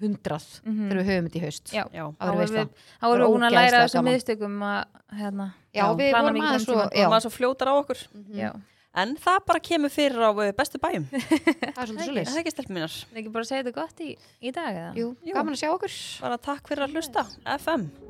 hundrað Mhm. þegar við höfum þetta í haust Já. Já, Þá erum Það verður veisla. við- Þá erum við búin að læra Ógeðslega þessum gaman. miðstökum að, hérna, Já, við plana vorum mikið aðeins fram svo tímann. og já, maður svo fljótar á okkur. Já. En það bara kemur fyrir á ö, bestu bæjum. Það er Mhm. svolítið Er svolítið Það ekki stelpum mínar. Það er ekki bara að segja þetta gott í, í dag eða? Jú, Jú. gaman að sjá okkur Bara takk fyrir að hlusta. FM.